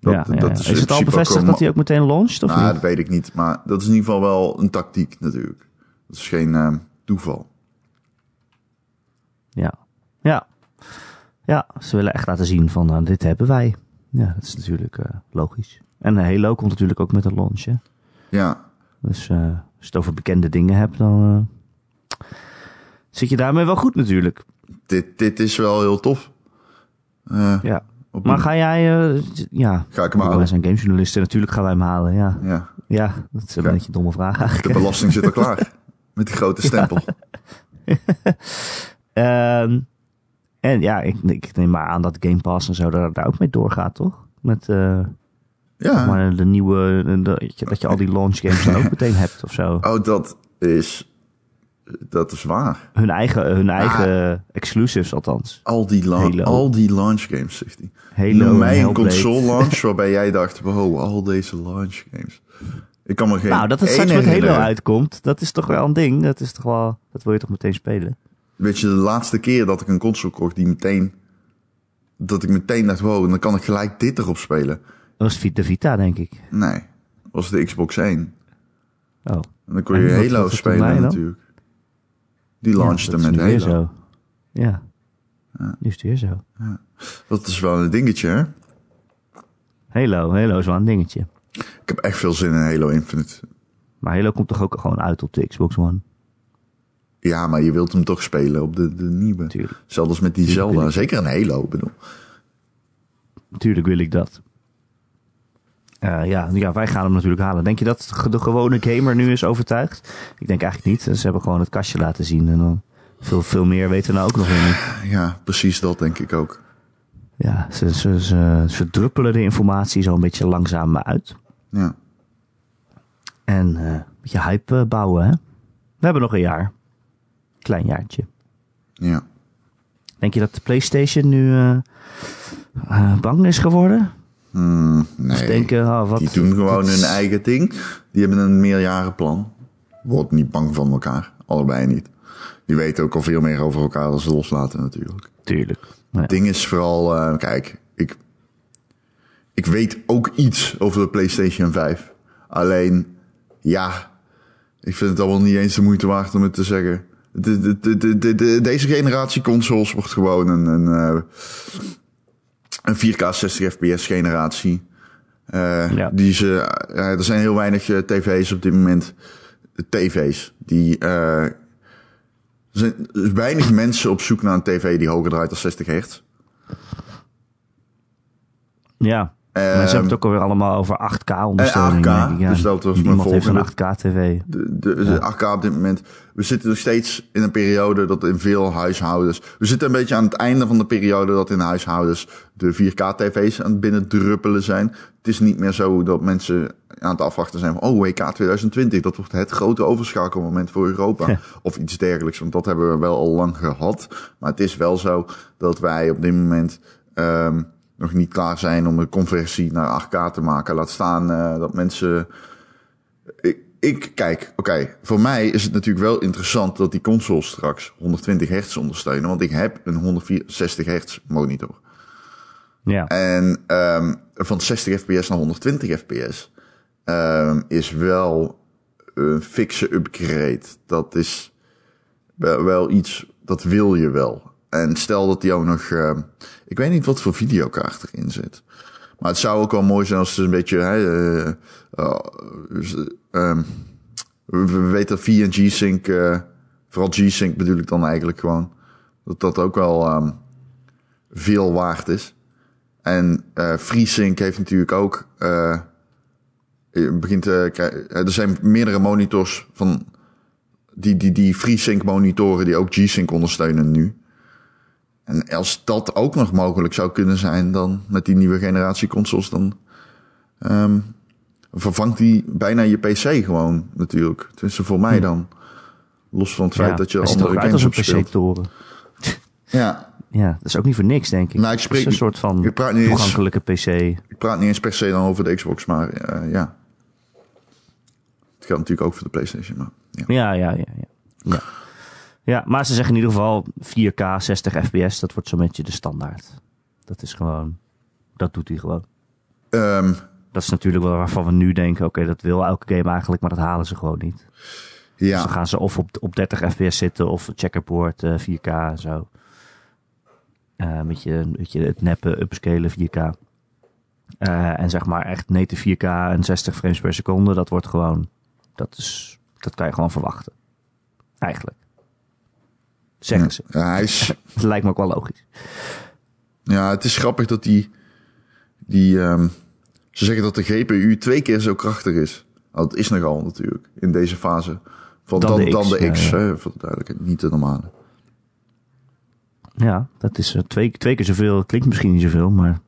Speaker 2: Dat-
Speaker 1: ja, ja,
Speaker 2: dat
Speaker 1: ja.
Speaker 2: is
Speaker 1: Is,
Speaker 2: in
Speaker 1: het al
Speaker 2: principe ook
Speaker 1: bevestigd
Speaker 2: wel
Speaker 1: dat hij ook meteen launcht? Of
Speaker 2: Nou,
Speaker 1: niet?
Speaker 2: dat weet ik niet. Maar dat is in ieder geval wel een tactiek natuurlijk. Dat is geen eh, toeval.
Speaker 1: Ja. Ja. Ja, ze willen echt laten zien van, nou, dit hebben wij. Ja, dat is natuurlijk eh, logisch. En heel Halo komt natuurlijk ook met een launch, hè.
Speaker 2: Ja,
Speaker 1: Dus eh, als je het over bekende dingen hebt, dan eh, zit je daarmee wel goed natuurlijk.
Speaker 2: dit, dit is wel heel tof. Eh,
Speaker 1: Ja.
Speaker 2: op
Speaker 1: Maar ga jij... eh, t- ja.
Speaker 2: Ga ik hem
Speaker 1: Wij
Speaker 2: halen.
Speaker 1: zijn gamejournalisten, natuurlijk gaan wij hem halen, ja.
Speaker 2: Ja,
Speaker 1: Ja, dat is een
Speaker 2: Ja.
Speaker 1: beetje een domme vraag
Speaker 2: de
Speaker 1: eigenlijk.
Speaker 2: belasting zit al klaar. Met die grote stempel.
Speaker 1: Ehm, en ja, ik, ik neem maar aan dat Game Pass en zo daar, daar ook mee doorgaat, toch? Met... eh,
Speaker 2: Ja.
Speaker 1: Maar de nieuwe, de- dat je- dat je al die launch games dan ook meteen hebt of zo.
Speaker 2: Oh, dat is... Dat is waar.
Speaker 1: Hun eigen, hun
Speaker 2: Ah.
Speaker 1: eigen exclusives althans.
Speaker 2: Al die, la-
Speaker 1: Halo.
Speaker 2: al die launch games, zegt hij.
Speaker 1: Halo,
Speaker 2: Noem mij een
Speaker 1: Hellblade.
Speaker 2: console launch waarbij jij dacht... Wow, al deze launch games. Ik kan me geen
Speaker 1: Nou, dat het
Speaker 2: één
Speaker 1: straks met Halo
Speaker 2: herinneren.
Speaker 1: uitkomt, dat is toch wel een ding. Dat is toch wel, dat wil je toch meteen spelen.
Speaker 2: Weet je, de laatste keer dat ik een console kocht die meteen... Dat ik meteen dacht, wow, dan kan ik gelijk dit erop spelen.
Speaker 1: Dat was Vi- de Vita, denk ik.
Speaker 2: Nee, was de Xbox 1.
Speaker 1: Oh,
Speaker 2: En dan kon
Speaker 1: En
Speaker 2: je
Speaker 1: wat was
Speaker 2: Halo
Speaker 1: het op mij
Speaker 2: spelen
Speaker 1: dan?
Speaker 2: natuurlijk. Die
Speaker 1: ja,
Speaker 2: launchte
Speaker 1: dat is
Speaker 2: met
Speaker 1: nu weer
Speaker 2: Halo.
Speaker 1: zo. Ja. nu is het weer zo.
Speaker 2: Dat is wel een dingetje, hè?
Speaker 1: Halo, Halo is wel een dingetje.
Speaker 2: Ik heb echt veel zin in Halo Infinite.
Speaker 1: Maar Halo komt toch ook gewoon uit op de Xbox One?
Speaker 2: Ja, maar je wilt hem toch spelen op de, de nieuwe.
Speaker 1: Tuurlijk.
Speaker 2: Zelfs als met die
Speaker 1: Tuurlijk wil
Speaker 2: Zelda.
Speaker 1: ik.
Speaker 2: Zeker een Halo, ik bedoel.
Speaker 1: Natuurlijk wil ik dat. Eh, ja, ja, wij gaan hem natuurlijk halen. Denk je dat ge- de gewone gamer nu is overtuigd? Ik denk eigenlijk niet. Ze hebben gewoon het kastje laten zien. En dan veel, veel meer weten we nou ook nog weer niet.
Speaker 2: Ja, precies dat denk ik ook.
Speaker 1: Ja, ze, ze, ze, ze druppelen de informatie zo een beetje langzaam uit.
Speaker 2: Ja.
Speaker 1: En eh, een beetje hype eh, bouwen, hè? We hebben nog een jaar. Klein jaartje.
Speaker 2: Ja.
Speaker 1: Denk je dat de PlayStation nu eh, eh, bang is geworden?
Speaker 2: Hmm, nee.
Speaker 1: Of denken, oh, wat...
Speaker 2: die doen gewoon
Speaker 1: wat is-
Speaker 2: hun eigen ding. Die hebben een meerjarenplan. Wordt niet bang van elkaar. Allebei niet. Die weten ook al veel meer over elkaar als ze loslaten natuurlijk.
Speaker 1: Tuurlijk. Ja.
Speaker 2: Het ding is vooral, eh, kijk, ik, ik weet ook iets over de PlayStation 5. Alleen, ja, ik vind het allemaal niet eens de moeite waard om het te zeggen. De, de, de, de, de- de- deze generatie consoles wordt gewoon een, een, eh, een 4K 60 FPS generatie. Eh,
Speaker 1: Ja.
Speaker 2: die ze, eh, er zijn heel weinig eh, tv's op dit moment. TV's die eh, er zijn weinig mensen op zoek naar een tv die hoger draait dan 60 hertz.
Speaker 1: Ja.
Speaker 2: Ehm,
Speaker 1: maar ze hebben het ook alweer allemaal over 8K ondersteuning.
Speaker 2: en 8K,
Speaker 1: denk ik, ja.
Speaker 2: dus dat was mijn
Speaker 1: Niemand heeft een
Speaker 2: volgende.
Speaker 1: 8K-tv.
Speaker 2: De, de, de 8K op dit moment. We zitten nog steeds in een periode dat in veel huishoudens... We zitten een beetje aan het einde van de periode dat in huishoudens de 4K-tv's aan het binnendruppelen zijn. Het is niet meer zo dat mensen aan het afwachten zijn van... Oh, WK 2020, dat wordt het grote overschakelmoment voor Europa.
Speaker 1: Ja.
Speaker 2: Of iets dergelijks, want dat hebben we wel al lang gehad. Maar het is wel zo dat wij op dit moment... ehm, nog niet klaar zijn om de conversie naar 8K te maken. Laat staan eh, dat mensen ik, ik kijk, oké, voor mij is het natuurlijk wel interessant dat die consoles straks 120 hertz ondersteunen, want ik heb een 164 hertz monitor.
Speaker 1: Ja.
Speaker 2: En ehm, van 60 fps naar 120 fps ehm, is wel een fikse upgrade. Dat is wel, wel iets, dat wil je wel. En stel dat die ook nog, ehm, ik weet niet wat voor videokaart erin zit. Maar het zou ook wel mooi zijn als het een beetje, hè, eh, eh, dus, ehm, we we weten dat V en G-Sync, eh, vooral G-Sync bedoel ik dan eigenlijk gewoon, dat dat ook wel ehm, veel waard is. En eh FreeSync heeft natuurlijk ook. eh, je begint te krijgen- eh, er zijn meerdere monitors van. Die, die, die FreeSync monitoren die ook G-Sync ondersteunen nu. En als dat ook nog mogelijk zou kunnen zijn, dan met die nieuwe generatie consoles, dan ehm, vervangt die bijna je PC gewoon natuurlijk. Tenminste voor mij dan. Los van het feit dat je
Speaker 1: Hm. hij ziet er
Speaker 2: andere
Speaker 1: ook uit
Speaker 2: games
Speaker 1: als
Speaker 2: op
Speaker 1: een
Speaker 2: speelt.
Speaker 1: PC-toren.
Speaker 2: Ja,
Speaker 1: Ja, dat is ook niet voor niks, denk ik.
Speaker 2: Nou, ik
Speaker 1: Het
Speaker 2: spreek
Speaker 1: is een
Speaker 2: niet-
Speaker 1: soort van
Speaker 2: ik praat niet eens-
Speaker 1: toegankelijke PC.
Speaker 2: Ik praat niet eens per se dan over de Xbox, maar eh, ja. Het geldt natuurlijk ook voor de PlayStation, maar ja.
Speaker 1: Ja, ja, ja, ja. ja. Ja, maar ze zeggen in ieder geval 4K 60 fps, dat wordt zo'n beetje de standaard. Dat is gewoon, dat doet hij gewoon.
Speaker 2: Ehm,
Speaker 1: Dat is natuurlijk wel waarvan we nu denken, oké, dat wil elke game eigenlijk, maar dat halen ze gewoon niet. Dus dan
Speaker 2: ja.
Speaker 1: gaan ze of op, op 30 fps zitten of checkerboard eh, 4K en zo. Eh, met, je, met je het neppen, upscalen 4K. Eh, en zeg maar echt native 4K en 60 frames per seconde, dat wordt gewoon, dat, is, dat kan je gewoon verwachten. Eigenlijk. Zeggen ze.
Speaker 2: Ja, hij is,
Speaker 1: Dat lijkt me ook wel logisch.
Speaker 2: ja, het is grappig dat die... die ehm, ze zeggen dat de GPU twee keer zo krachtig is. Nou, dat is nogal natuurlijk, in deze fase. Van
Speaker 1: Dan
Speaker 2: dan,
Speaker 1: de
Speaker 2: dan
Speaker 1: X,
Speaker 2: de
Speaker 1: ja,
Speaker 2: X,
Speaker 1: ja.
Speaker 2: hè, voor de duidelijkheid. Niet de normale.
Speaker 1: Ja, dat is eh, twee, twee keer zoveel. Klinkt misschien niet zoveel, maar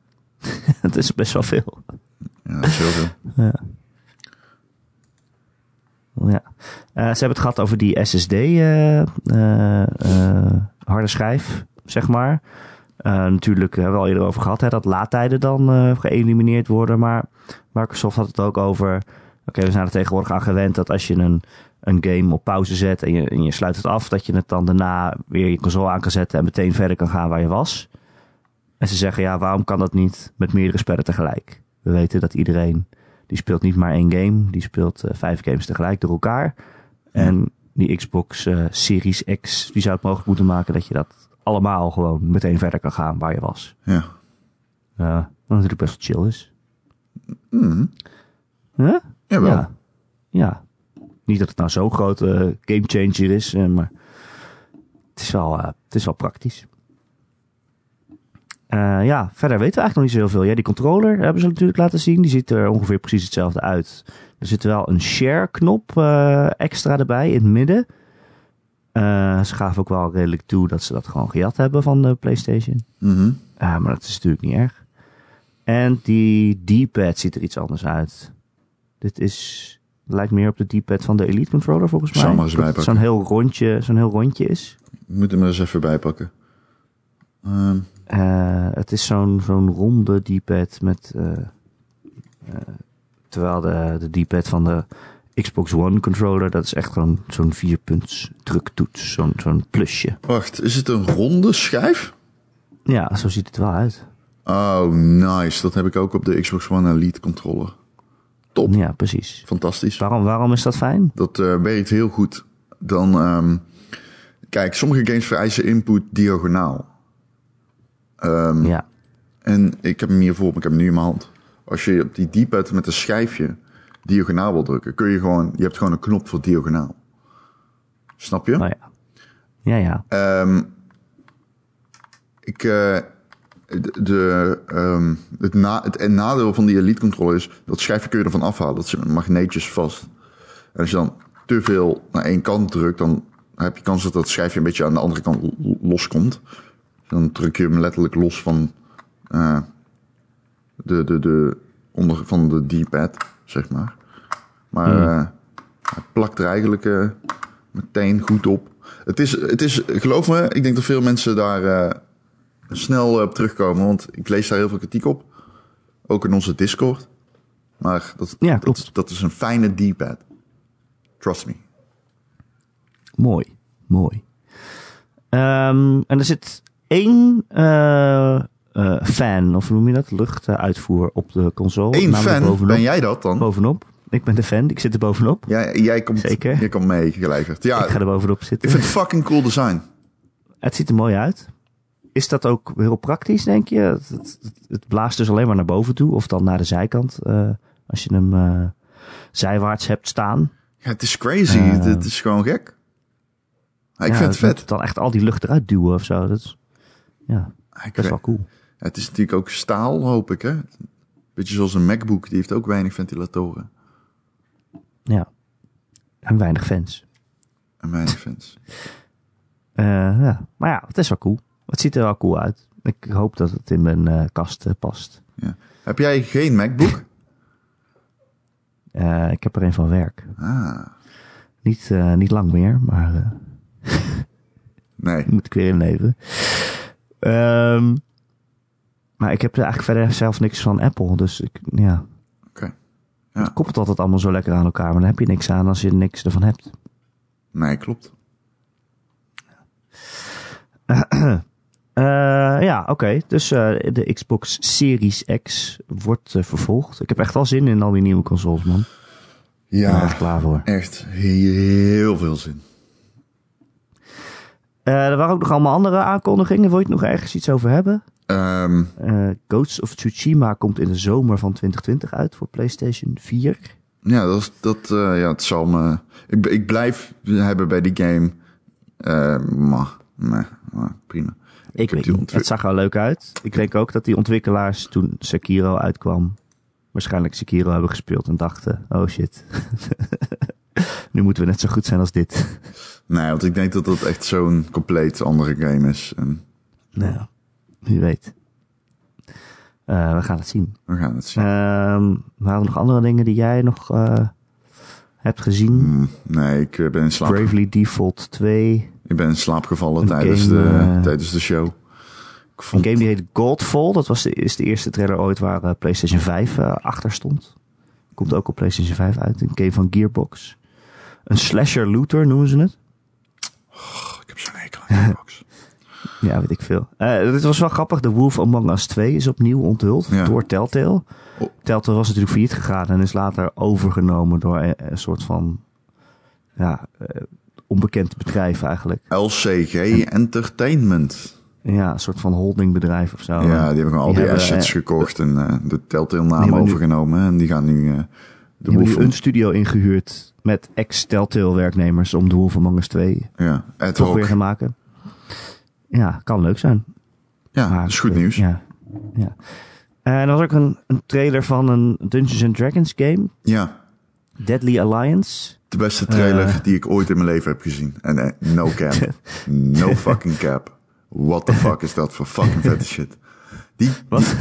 Speaker 1: het is best wel veel.
Speaker 2: Ja, dat is heel veel.
Speaker 1: Ja. Eh, ze hebben het gehad over die SSD eh, eh, eh, harde schijf, zeg maar. Eh, natuurlijk hebben we al eerder over gehad, hè, dat laadtijden dan eh, geëlimineerd worden. Maar Microsoft had het ook over. Oké, we zijn er tegenwoordig aan gewend dat als je een, een game op pauze zet en je, en je sluit het af, dat je het dan daarna weer je console aan kan zetten en meteen verder kan gaan waar je was. En ze zeggen, ja, waarom kan dat niet met meerdere spellen tegelijk? We weten dat iedereen die speelt niet maar één game. Die speelt eh, vijf games tegelijk door elkaar. En die Xbox eh, Series X, die zou het mogelijk moeten maken dat je dat allemaal gewoon meteen verder kan gaan waar je was.
Speaker 2: Ja.
Speaker 1: Eh, wat natuurlijk best wel chill is.
Speaker 2: Mhm.
Speaker 1: Huh?
Speaker 2: Jawel.
Speaker 1: Ja. ja. Niet dat het nou zo'n grote game gamechanger is, eh, maar het is wel, eh, het is wel praktisch. Eh, ja, verder weten we eigenlijk nog niet zo heel veel. Ja, die controller hebben ze natuurlijk laten zien. Die ziet er ongeveer precies hetzelfde uit. Er zit wel een share-knop eh, extra erbij in het midden. Eh, ze gaven ook wel redelijk toe dat ze dat gewoon gejat hebben van de PlayStation.
Speaker 2: Mhm.
Speaker 1: Ah, maar dat is natuurlijk niet erg. En die D-pad ziet er iets anders uit. Dit is, lijkt meer op de D-pad van de Elite Controller volgens mij.
Speaker 2: Zou maar eens
Speaker 1: Dat het
Speaker 2: bijpakken.
Speaker 1: Zo'n heel rondje, zo'n heel rondje is.
Speaker 2: Ik moet hem er eens even bij pakken. Ehm,
Speaker 1: Eh, het is zo'n zo'n ronde D-pad met. eh, eh, terwijl de, de D-pad van de Xbox One controller, dat is echt gewoon zo'n vierpunts druktoets. Zo'n zo'n plusje.
Speaker 2: wacht, is het een ronde schijf?
Speaker 1: Ja, zo ziet het wel uit.
Speaker 2: Oh, nice. Dat heb ik ook op de Xbox One Elite controller. Top.
Speaker 1: Ja, precies.
Speaker 2: Fantastisch.
Speaker 1: Waarom, waarom is dat fijn?
Speaker 2: Dat eh, werkt heel goed. Dan, ehm, kijk, sommige games vereisen input diagonaal.
Speaker 1: Ja.
Speaker 2: En ik heb hem hiervoor, maar ik heb hem nu in mijn hand. Als je op die D-pad met een schijfje diagonaal wil drukken, kun je gewoon, je hebt gewoon een knop voor diagonaal. Snap je?
Speaker 1: Oh ja. Ja, ja.
Speaker 2: Ehm, ik, eh, de, de, ehm, het, na, het en nadeel van die Elite Controller is... dat schijfje kun je ervan afhalen. Dat zit met magneetjes vast. En als je dan te veel naar één kant drukt... dan heb je kans dat dat schijfje een beetje aan de andere kant lo- loskomt. Dan druk je hem letterlijk los van, eh, de, de, de, onder, van de D-pad, zeg maar. Maar
Speaker 1: Hmm.
Speaker 2: eh, hij plakt er eigenlijk... eh, meteen goed op. Het is, het is, geloof me, ik denk dat veel mensen daar eh, snel eh, op terugkomen. Want ik lees daar heel veel kritiek op. Ook in onze Discord. Maar dat,
Speaker 1: Ja,
Speaker 2: dat,
Speaker 1: klopt.
Speaker 2: dat is een fijne D-pad. Trust me.
Speaker 1: Mooi, mooi. Ehm, en er zit één eh, eh, fan, of hoe noem je dat? Luchtuitvoer op de console.
Speaker 2: Eén
Speaker 1: namelijk
Speaker 2: fan,
Speaker 1: bovenop.
Speaker 2: ben jij dat dan?
Speaker 1: Bovenop. Ik ben de fan, ik zit er bovenop.
Speaker 2: Jij, jij, komt,
Speaker 1: Zeker.
Speaker 2: jij komt mee, gelijkerd. Ja,
Speaker 1: Ik ga er bovenop
Speaker 2: ik
Speaker 1: zitten.
Speaker 2: vind het fucking cool design.
Speaker 1: Het ziet er mooi uit. Is dat ook heel praktisch, denk je? Het, het- het blaast dus alleen maar naar boven toe, of dan naar de zijkant. eh, als je hem eh, zijwaarts hebt staan.
Speaker 2: Ja, het is crazy.
Speaker 1: Eh.
Speaker 2: Dit is gewoon gek. Ja, ik
Speaker 1: Ja,
Speaker 2: vind het
Speaker 1: dat
Speaker 2: vet.
Speaker 1: moet Dan echt al die lucht eruit duwen of zo. Dat is, ja,
Speaker 2: Ik
Speaker 1: best
Speaker 2: weet-
Speaker 1: wel cool.
Speaker 2: Het is natuurlijk ook staal, hoop ik, hè? Beetje zoals een MacBook, die heeft ook weinig ventilatoren.
Speaker 1: Ja. En weinig fans.
Speaker 2: En weinig fans.
Speaker 1: Eh, ja. Maar ja, het is wel cool. Het ziet er wel cool uit. Ik hoop dat het in mijn eh, kast eh, past.
Speaker 2: Ja. Heb jij geen MacBook?
Speaker 1: Eh, ik heb er een van werk.
Speaker 2: Ah,
Speaker 1: Niet, eh, niet lang meer, maar eh,
Speaker 2: nee.
Speaker 1: moet ik weer inleveren. Ehm, maar ik heb er eigenlijk verder zelf niks van Apple. Dus ik, ja.
Speaker 2: Oké. Ja.
Speaker 1: Het koppelt altijd allemaal zo lekker aan elkaar. Maar dan heb je niks aan als je niks ervan hebt.
Speaker 2: Nee, klopt.
Speaker 1: Eh, ja, oké. Dus eh, de Xbox Series X wordt eh, vervolgd. Ik heb echt al zin in al die nieuwe consoles, man. Ik ben er echt klaar voor.
Speaker 2: Echt heel veel zin.
Speaker 1: Eh, er waren ook nog allemaal andere aankondigingen. Wil je het nog ergens iets over hebben?
Speaker 2: Ehm,
Speaker 1: Eh, Ghosts of Tsushima komt in de zomer van 2020 uit voor PlayStation 4.
Speaker 2: ja, dat, is- dat eh, ja, het zal me... Ik, ik blijf hebben bij die game. Eh, maar, nee, maar prima.
Speaker 1: Ik
Speaker 2: heb
Speaker 1: weet
Speaker 2: die
Speaker 1: niet.
Speaker 2: ontwi-
Speaker 1: Het zag er leuk uit. Ik denk ook dat die ontwikkelaars toen Sekiro uitkwam, waarschijnlijk Sekiro hebben gespeeld en dachten: oh shit, nu moeten we net zo goed zijn als dit.
Speaker 2: Nee, want ik denk dat dat echt zo'n compleet andere game is. En
Speaker 1: nou, wie weet. Eh, we gaan het zien.
Speaker 2: we gaan het zien.
Speaker 1: Ehm waren er nog andere dingen die jij nog eh, hebt gezien?
Speaker 2: Hmm, nee, ik eh, ben in slaap,
Speaker 1: Bravely Default 2.
Speaker 2: ik ben in slaap gevallen
Speaker 1: Een
Speaker 2: tijdens,
Speaker 1: game,
Speaker 2: de,
Speaker 1: eh,
Speaker 2: tijdens de show. Ik
Speaker 1: Een
Speaker 2: vond,
Speaker 1: game die heet Godfall. Dat was de, is de eerste trailer ooit waar eh, PlayStation 5 eh, achter stond. Komt ook op PlayStation 5 uit. Een game van Gearbox. Een slasher looter noemen ze het.
Speaker 2: ik heb zo'n hekel aan Xbox.
Speaker 1: Ja, weet ik veel. Eh, dit was wel grappig. The Wolf Among Us 2 is opnieuw onthuld
Speaker 2: Ja.
Speaker 1: door Telltale.
Speaker 2: Oh.
Speaker 1: Telltale was natuurlijk failliet gegaan en is later overgenomen door eh, een, een soort van ja, eh, onbekend bedrijf eigenlijk.
Speaker 2: LCG Entertainment.
Speaker 1: Ja, een soort van holdingbedrijf of zo.
Speaker 2: ja, die hebben gewoon al die
Speaker 1: Oh. hebben,
Speaker 2: assets
Speaker 1: eh,
Speaker 2: gekocht en eh, de Telltale
Speaker 1: die
Speaker 2: naam
Speaker 1: hebben nu-
Speaker 2: overgenomen. En die gaan nu eh de
Speaker 1: Die hebben
Speaker 2: Wolf...
Speaker 1: nu een studio ingehuurd met ex-Telltale werknemers om The Wolf Among Us 2
Speaker 2: Ja, ad
Speaker 1: toch
Speaker 2: hoc.
Speaker 1: weer gaan maken. Ja, kan leuk zijn.
Speaker 2: Ja,
Speaker 1: Maar,
Speaker 2: dat is goed
Speaker 1: eh,
Speaker 2: nieuws. Ja,
Speaker 1: Ja. ja. En er was ook een, een trailer van een Dungeons and Dragons game. Deadly Alliance.
Speaker 2: de beste trailer
Speaker 1: Eh.
Speaker 2: die ik ooit in mijn leven heb gezien. En eh, no cap. no fucking cap. What the fuck is dat voor fucking vette shit. Die,
Speaker 1: Wat?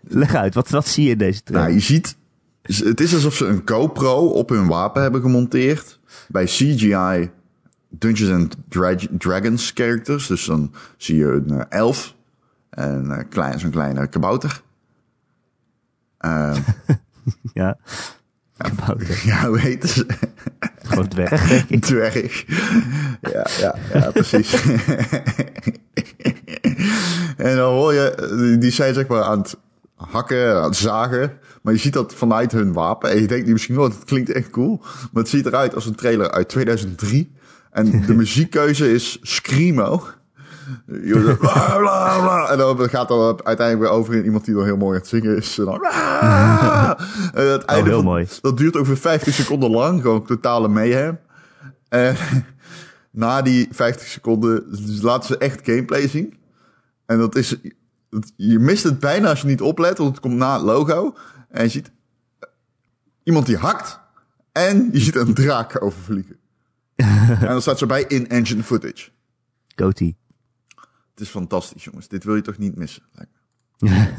Speaker 1: Leg uit, wat, wat zie je in deze trailer?
Speaker 2: nou, je ziet... Het is alsof ze een GoPro op hun wapen hebben gemonteerd. Bij CGI Dungeons and Drag- Dragons characters. Dus dan zie je een eh, elf. En eh, klein, zo'n kleine kabouter. Eh,
Speaker 1: Ja. Kabouter,
Speaker 2: ja, hoe heet ze?
Speaker 1: gewoon dwerg, denk ik.
Speaker 2: Dwerg. Ja, ja, ja precies. en dan hoor je, die- die zijn zeg maar aan het hakken, aan het zagen. Maar je ziet dat vanuit hun wapen. En je denkt nu misschien, oh, dat klinkt echt cool. Maar het ziet eruit als een trailer uit 2003. En de muziekkeuze is Screamo. Je hoort zo, bla, bla, bla. En dan gaat dat uiteindelijk weer over in iemand die dan heel mooi aan het zingen is. En dan, bla. En het einde
Speaker 1: Oh, heel
Speaker 2: van-
Speaker 1: mooi.
Speaker 2: Dat duurt ongeveer 50 seconden lang. Gewoon totale mayhem. En na die 50 seconden dus laten ze echt gameplay zien. En dat is... het- Je mist het bijna als je niet oplet, want het komt na het logo. En je ziet eh, iemand die hakt. En je ziet een draak overvliegen. en dan staat ze bij in-engine footage.
Speaker 1: Goatee.
Speaker 2: Het is fantastisch, jongens. Dit wil je toch niet missen? lijkt me.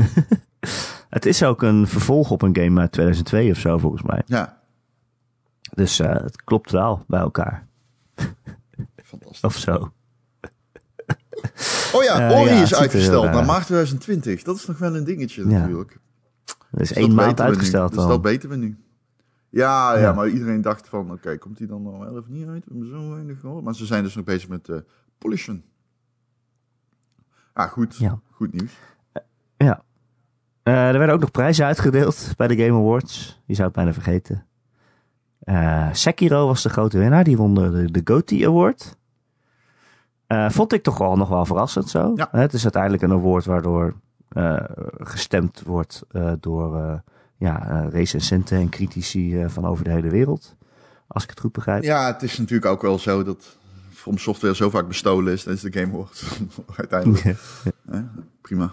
Speaker 1: Het is ook een vervolg op een game uit 2002 of zo, volgens mij.
Speaker 2: Ja,
Speaker 1: Dus eh, het klopt wel bij elkaar.
Speaker 2: fantastisch.
Speaker 1: Of zo.
Speaker 2: Oh ja,
Speaker 1: Eh,
Speaker 2: Ori
Speaker 1: ja, het ziet
Speaker 2: is
Speaker 1: er
Speaker 2: uitgesteld
Speaker 1: heel
Speaker 2: naar
Speaker 1: raar
Speaker 2: maart 2020. Dat is nog wel een dingetje
Speaker 1: Ja.
Speaker 2: natuurlijk. Dus
Speaker 1: Er is
Speaker 2: dat
Speaker 1: één maand
Speaker 2: weten we nu.
Speaker 1: uitgesteld
Speaker 2: Dus
Speaker 1: al.
Speaker 2: dat weten we nu. Ja, ja,
Speaker 1: Ja.
Speaker 2: maar iedereen dacht van, oké, komt die dan nog wel of niet uit? We hebben zo weinig gehoord. Maar ze zijn dus nog bezig met eh pollution. Ah, goed.
Speaker 1: Ja.
Speaker 2: Goed nieuws.
Speaker 1: Ja. Eh, er werden ook nog prijzen uitgedeeld bij de Game Awards. Die zou ik bijna vergeten. Eh, Sekiro was de grote winnaar. Die won de, de GOTY Award. Eh, vond ik toch wel nog wel verrassend zo.
Speaker 2: Ja.
Speaker 1: Eh, Het is uiteindelijk een award waardoor eh, gestemd wordt eh, door eh, ja, eh, recensenten en critici eh, van over de hele wereld. Als ik het goed begrijp.
Speaker 2: Ja, het is natuurlijk ook wel zo dat From Software zo vaak bestolen is. Dat is de Game Awards uiteindelijk. Prima.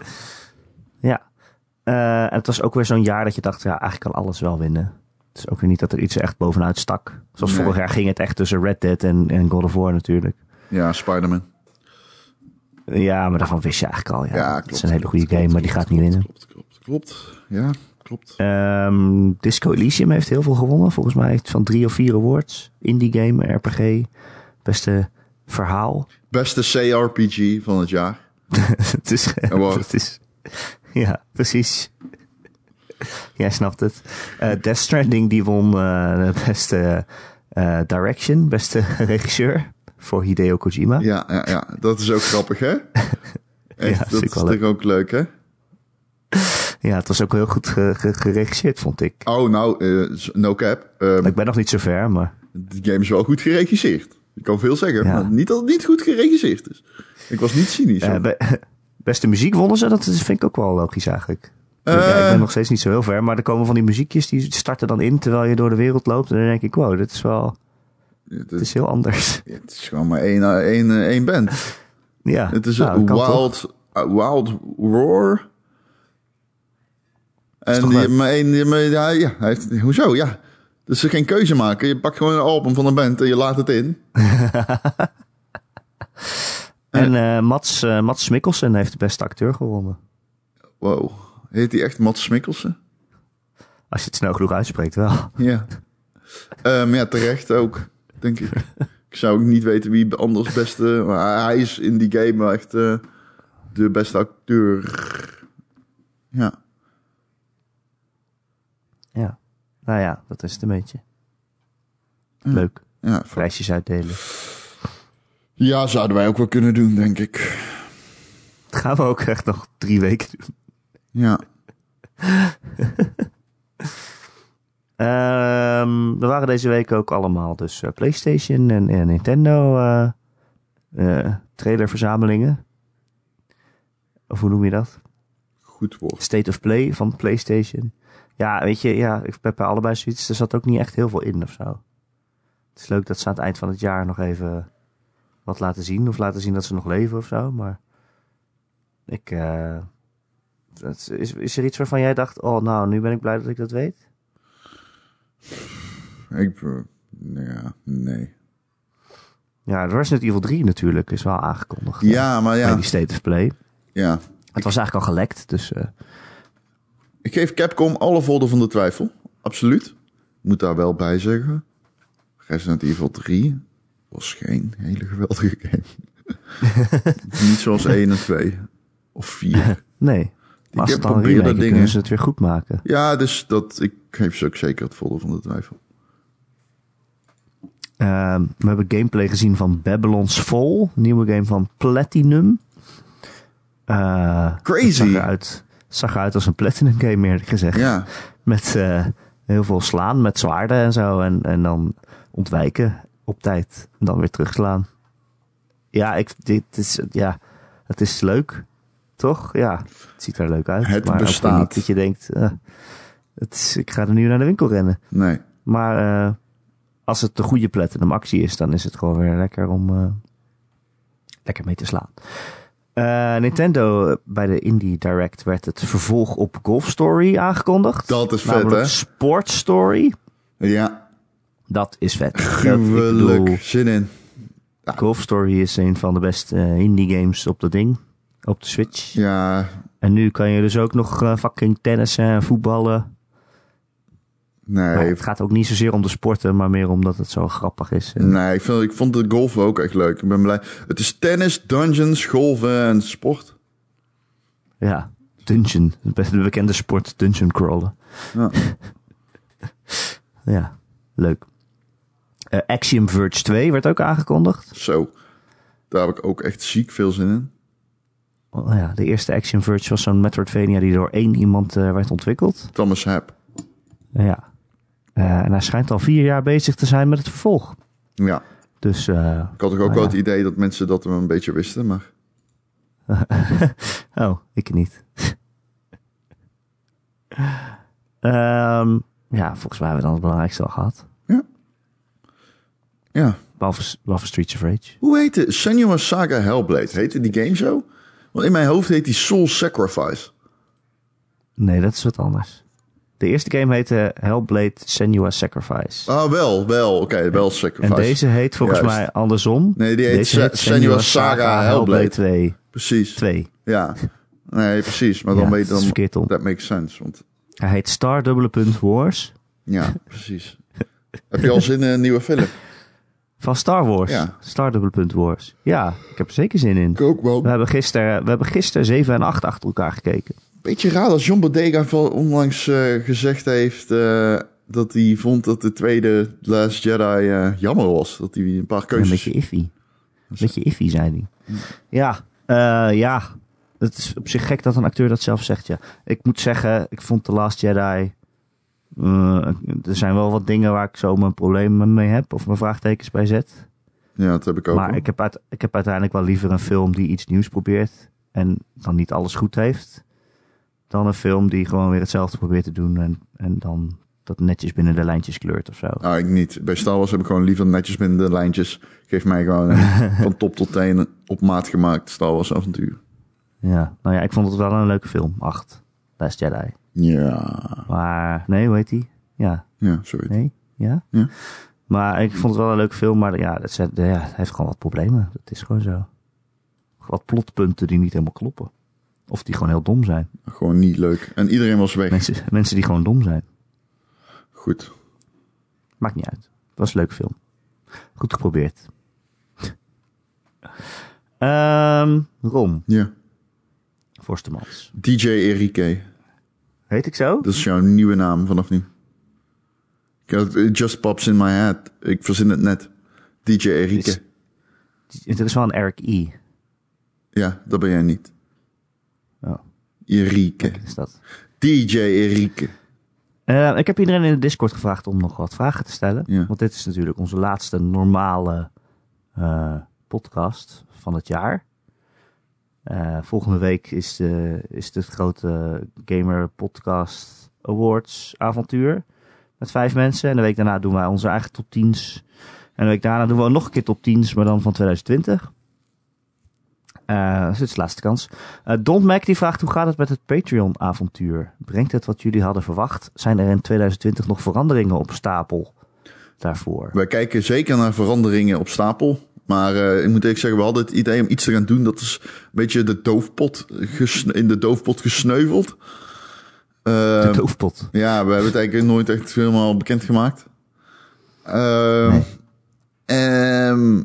Speaker 1: Eh, en het was ook weer zo'n jaar dat je dacht, ja, eigenlijk kan alles wel winnen. Het is ook weer niet dat er iets echt bovenuit stak. Zoals
Speaker 2: Nee.
Speaker 1: vorig jaar ging het echt tussen Red Dead en, en God of War natuurlijk.
Speaker 2: Ja, Spider-Man.
Speaker 1: Ja, maar daarvan wist je eigenlijk al. Ja,
Speaker 2: Ja,
Speaker 1: het is
Speaker 2: klopt.
Speaker 1: een hele goede game,
Speaker 4: Klopt,
Speaker 1: maar die
Speaker 4: klopt,
Speaker 1: gaat niet winnen.
Speaker 4: Klopt, klopt, klopt.
Speaker 2: Ja, klopt.
Speaker 1: Ehm, Disco Elysium heeft heel veel gewonnen. Volgens mij heeft van drie of vier awards. Indie game, RPG, beste verhaal.
Speaker 2: Beste CRPG van het jaar.
Speaker 1: het is,
Speaker 2: Award.
Speaker 1: het is, ja, precies. Jij snapt het. Eh, Death Stranding die won eh, de beste eh, direction, beste regisseur voor Hideo Kojima.
Speaker 2: Ja, ja, ja. dat is ook grappig, hè? Echt,
Speaker 1: vind ik
Speaker 2: dat
Speaker 1: wel
Speaker 2: is natuurlijk ook leuk, hè?
Speaker 1: Ja, het was ook heel goed ge- ge- geregisseerd, vond ik.
Speaker 2: Oh, nou, eh, no cap. Ehm,
Speaker 1: Ik ben nog niet zo ver, maar
Speaker 2: De game is wel goed geregisseerd. Ik kan veel zeggen,
Speaker 1: Ja.
Speaker 2: maar niet dat het niet goed geregisseerd is. Ik was niet cynisch.
Speaker 1: eh,
Speaker 2: hoor.
Speaker 1: be- beste muziek wonnen ze. Dat vind ik ook wel logisch eigenlijk.
Speaker 2: Eh.
Speaker 1: Ja, ik ben nog steeds niet zo heel ver, maar er komen van die muziekjes die starten dan in terwijl je door de wereld loopt. En dan denk ik, wow, dit is wel,
Speaker 2: het,
Speaker 1: dit
Speaker 2: is,
Speaker 1: is heel anders.
Speaker 2: het is gewoon maar één, eh, één, eh, één band.
Speaker 1: Ja,
Speaker 2: Het is
Speaker 1: nou,
Speaker 2: een
Speaker 1: dat kan toch?
Speaker 2: wild, eh, wild Roar. En
Speaker 1: toch
Speaker 2: die
Speaker 1: leuk?
Speaker 2: maar één, die- maar- ja, ja, hij heeft- hoezo, ja. Dus ze geen keuze maken. Je pakt gewoon een album van een band en je laat het in.
Speaker 1: En eh, Mats, eh, Mats Mikkelsen heeft de beste acteur gewonnen.
Speaker 2: Wow. Heet die echt Mats Mikkelsen?
Speaker 1: Als je het snel genoeg uitspreekt, wel.
Speaker 2: Ja. Ehm, ja, terecht ook, denk ik. Ik zou ook niet weten wie anders beste... Maar hij is in die game wel echt eh, de beste acteur. Ja.
Speaker 1: Ja. Nou ja, dat is het een beetje. Leuk.
Speaker 2: Ja, v-
Speaker 1: Prijsjes uitdelen.
Speaker 2: ja, zouden wij ook wel kunnen doen, denk ik.
Speaker 1: Dat gaan we ook echt nog drie weken doen.
Speaker 2: Ja.
Speaker 1: Ehm, we waren deze week ook allemaal dus eh, PlayStation en, en Nintendo eh, eh, trailerverzamelingen. Of hoe noem je dat?
Speaker 2: Goed woord.
Speaker 1: State of Play van PlayStation. Ja, weet je, ja, ik heb bij allebei zoiets. Er zat ook niet echt heel veel in of zo. Het is leuk dat ze aan het eind van het jaar nog even wat laten zien. Of laten zien dat ze nog leven of zo. Maar ik. eh, dat is, is er iets waarvan jij dacht: oh, nou, nu ben ik blij dat ik dat weet?
Speaker 2: Ik... eh, Ja, nee.
Speaker 1: Ja, Resident Evil 3 natuurlijk is wel aangekondigd. eh,
Speaker 2: Ja, maar
Speaker 1: Bij
Speaker 2: ja.
Speaker 1: die State of Play.
Speaker 2: ja.
Speaker 1: Het was eigenlijk al gelekt, dus. eh,
Speaker 2: Ik geef Capcom alle voordeel van de twijfel. Absoluut. Moet daar wel bij zeggen. Resident Evil 3 was geen hele geweldige game. Niet zoals 1 en 2. Of 4.
Speaker 1: nee. Maar als
Speaker 2: heb
Speaker 1: het dan een
Speaker 2: geprobeerd dat
Speaker 1: remake is,
Speaker 2: ding,
Speaker 1: kunnen
Speaker 2: hè.
Speaker 1: ze het weer goed maken.
Speaker 2: Ja, dus dat, ik geef ze ook zeker het voordeel van de twijfel.
Speaker 1: Ehm, we hebben gameplay gezien van Babylon's Fall, nieuwe game van Platinum. Eh, het
Speaker 2: Crazy.
Speaker 1: Zag eruit, zag eruit als een Platinum game, eerlijk gezegd.
Speaker 2: Ja,
Speaker 1: Met eh, heel veel slaan met zwaarden en zo. En, en dan ontwijken op tijd. En dan weer terugslaan. Ja, ik, dit is, ja, het is leuk. Toch? Ja, het ziet er leuk uit.
Speaker 2: Het
Speaker 1: maar ook weer
Speaker 2: bestaat.
Speaker 1: niet dat je denkt, eh, het is, ik ga er nu naar de winkel rennen.
Speaker 2: nee.
Speaker 1: Maar eh, als het de goede platinum actie is, dan is het gewoon weer lekker om eh, lekker mee te slaan. Eh, Nintendo eh, bij de Indie Direct werd het vervolg op Golf Story aangekondigd.
Speaker 2: Dat is vet,
Speaker 1: Namelijk
Speaker 2: hè?
Speaker 1: Sport Story.
Speaker 2: Ja,
Speaker 1: Dat is vet. Dat, ik bedoel,
Speaker 2: gruwelijk. Zin in.
Speaker 1: Golf Story is een van de beste eh, indie games op dat ding. Op de Switch.
Speaker 2: Ja,
Speaker 1: En nu kan je dus ook nog eh, fucking tennissen en voetballen. Maar
Speaker 2: nee.
Speaker 1: het gaat ook niet zozeer om de sporten, maar meer omdat het zo grappig is. En-
Speaker 2: Nee, ik, vind, ik vond de golf ook echt leuk. Ik ben blij. Het is tennis, dungeons, golven en sport.
Speaker 1: Ja, dungeon. De bekende sport, dungeon crawlen.
Speaker 2: Ja.
Speaker 1: Ja, leuk. Eh, Axiom Verge 2 werd ook aangekondigd.
Speaker 2: Zo. Daar heb ik ook echt ziek veel zin in.
Speaker 1: Oh, ja, de eerste Axiom Verge was zo'n Metroidvania die door één iemand eh, werd ontwikkeld.
Speaker 2: Thomas Hap.
Speaker 1: ja. Eh, en hij schijnt al vier jaar bezig te zijn met het vervolg.
Speaker 2: Ja.
Speaker 1: Dus eh,
Speaker 2: Ik had toch ook
Speaker 1: Ah,
Speaker 2: wel
Speaker 1: ja.
Speaker 2: het idee dat mensen dat hem een beetje wisten, maar...
Speaker 1: Oh, ik niet. Ehm, ja, volgens mij hebben we dan het belangrijkste al gehad.
Speaker 2: Ja.
Speaker 1: Behalve, behalve Streets of Rage.
Speaker 2: Hoe heette Senua Saga Hellblade? Heette die game zo? Want in mijn hoofd heet die Soul Sacrifice.
Speaker 1: Nee, dat is wat anders. De eerste game heette Hellblade Senua's Sacrifice.
Speaker 2: Ah, wel, wel. Oké, wel
Speaker 1: en
Speaker 2: Sacrifice.
Speaker 1: deze heet volgens
Speaker 2: Juist.
Speaker 1: mij andersom.
Speaker 2: Nee, die heet
Speaker 1: Deze
Speaker 2: Se- Senua's Saga Hellblade
Speaker 1: 2.
Speaker 2: Precies.
Speaker 1: 2.
Speaker 2: Ja. Nee, precies. Maar
Speaker 1: Ja,
Speaker 2: dan weet
Speaker 1: dat is
Speaker 2: je
Speaker 1: verkeerd
Speaker 2: dan...
Speaker 1: om.
Speaker 2: Dat makes sense. Want,
Speaker 1: Hij heet Star Dubbele Punt Wars
Speaker 2: ja, precies. Heb je al zin in een nieuwe film?
Speaker 1: van Star Wars.
Speaker 2: Ja.
Speaker 1: Star Dubbele Punt Wars. Ja, ik heb er zeker zin in.
Speaker 2: Ik ook wel.
Speaker 1: We hebben gisteren, we hebben gisteren 7 en 8 achter elkaar gekeken.
Speaker 2: Beetje raar dat John Bodega wel onlangs eh, gezegd heeft eh, dat hij vond dat de tweede Last Jedi eh, jammer was. Dat hij een paar
Speaker 1: Een
Speaker 2: keuzes...
Speaker 1: beetje iffy. Een beetje iffy, zei hij. Ja, eh, ja. Het is op zich gek dat een acteur dat zelf zegt, ja. Ik moet zeggen, ik vond The Last Jedi... eh, er zijn wel wat dingen waar ik zo mijn problemen mee heb of mijn vraagtekens bij zet.
Speaker 2: Ja, dat heb ik ook.
Speaker 1: Maar
Speaker 2: hoor.
Speaker 1: ik heb, uit, ik heb uiteindelijk wel liever een film die iets nieuws probeert en dan niet alles goed heeft, dan een film die gewoon weer hetzelfde probeert te doen en, en dan dat netjes binnen de lijntjes kleurt of zo.
Speaker 2: Nou, ik niet. Bij Star Wars heb ik gewoon liever netjes binnen de lijntjes. Geef mij gewoon een van top tot teen een op maat gemaakt Star Wars avontuur.
Speaker 1: Ja, nou ja, ik vond het wel een leuke film. 8. Last Jedi.
Speaker 2: Ja,
Speaker 1: Maar, nee, hoe heet die? Ja,
Speaker 2: ja, sorry.
Speaker 1: nee, ja.
Speaker 2: Ja.
Speaker 1: Maar ik vond het wel een leuke film, maar ja, het, zet- ja, het heeft gewoon wat problemen. Dat is gewoon zo. Wat plotpunten die niet helemaal kloppen. Of die gewoon heel dom zijn.
Speaker 2: Gewoon niet leuk. En iedereen was weg.
Speaker 1: Mensen, mensen die gewoon dom zijn.
Speaker 2: Goed.
Speaker 1: Maakt niet uit. Het was een leuke film. Goed geprobeerd. Ehm Ron,
Speaker 2: Ja.
Speaker 1: Forstemans.
Speaker 2: DJ Enrique.
Speaker 1: Heet ik zo?
Speaker 2: Dat is jouw nieuwe naam vanaf nu. Ik had- It just pops in my head. Ik verzin het net. DJ
Speaker 1: Is-
Speaker 2: Enrique.
Speaker 1: Er is wel een Eric E.
Speaker 2: Ja, dat ben jij niet.
Speaker 1: Oh,
Speaker 2: Enrique.
Speaker 1: is dat.
Speaker 2: DJ Enrique.
Speaker 1: Eh, ik heb iedereen in de Discord gevraagd om nog wat vragen te stellen.
Speaker 2: Ja.
Speaker 1: Want dit is natuurlijk onze laatste normale eh, podcast van het jaar. Eh, volgende week is, de, is het grote Gamer Podcast Awards avontuur. Met vijf mensen. En de week daarna doen wij onze eigen top 10's. En de week daarna doen we nog een keer top 10's, maar dan van 2020. Eh, dus dit is de laatste kans. Eh Don Mac die vraagt, hoe gaat het met het Patreon-avontuur? Brengt het wat jullie hadden verwacht? Zijn er in 2020 nog veranderingen op stapel daarvoor?
Speaker 2: Wij kijken zeker naar veranderingen op stapel. Maar eh, ik moet eerlijk zeggen, we hadden het idee om iets te gaan doen. Dat is een beetje de doofpot gesne- in de doofpot gesneuveld. Eh,
Speaker 1: De doofpot.
Speaker 2: ja, we hebben het eigenlijk nooit echt helemaal bekendgemaakt. Ehm
Speaker 1: Nee.
Speaker 2: ehm,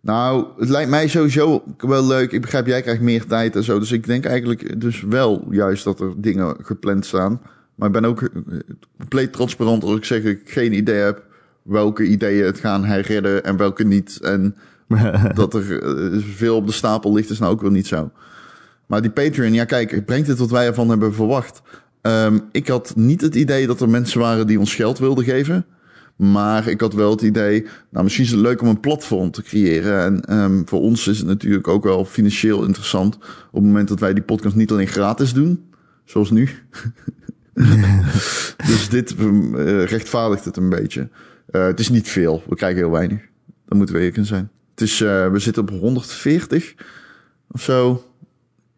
Speaker 2: nou, het lijkt mij sowieso wel leuk. Ik begrijp, jij krijgt meer tijd en zo. Dus ik denk eigenlijk dus wel juist dat er dingen gepland staan. Maar ik ben ook eh, compleet transparant als ik zeg dat ik geen idee heb welke ideeën het gaan herredden en welke niet. En dat er eh, veel op de stapel ligt is nou ook wel niet zo. Maar die Patreon, ja kijk, brengt het wat wij ervan hebben verwacht. Ehm, ik had niet het idee dat er mensen waren die ons geld wilden geven. Maar ik had wel het idee, nou misschien is het leuk om een platform te creëren. En ehm, voor ons is het natuurlijk ook wel financieel interessant. Op het moment dat wij die podcast niet alleen gratis doen, zoals nu. dus dit eh, rechtvaardigt het een beetje. Eh, het is niet veel, we krijgen heel weinig. Dat moeten we eerlijk in zijn. Het is, eh, we zitten op 140 of zo.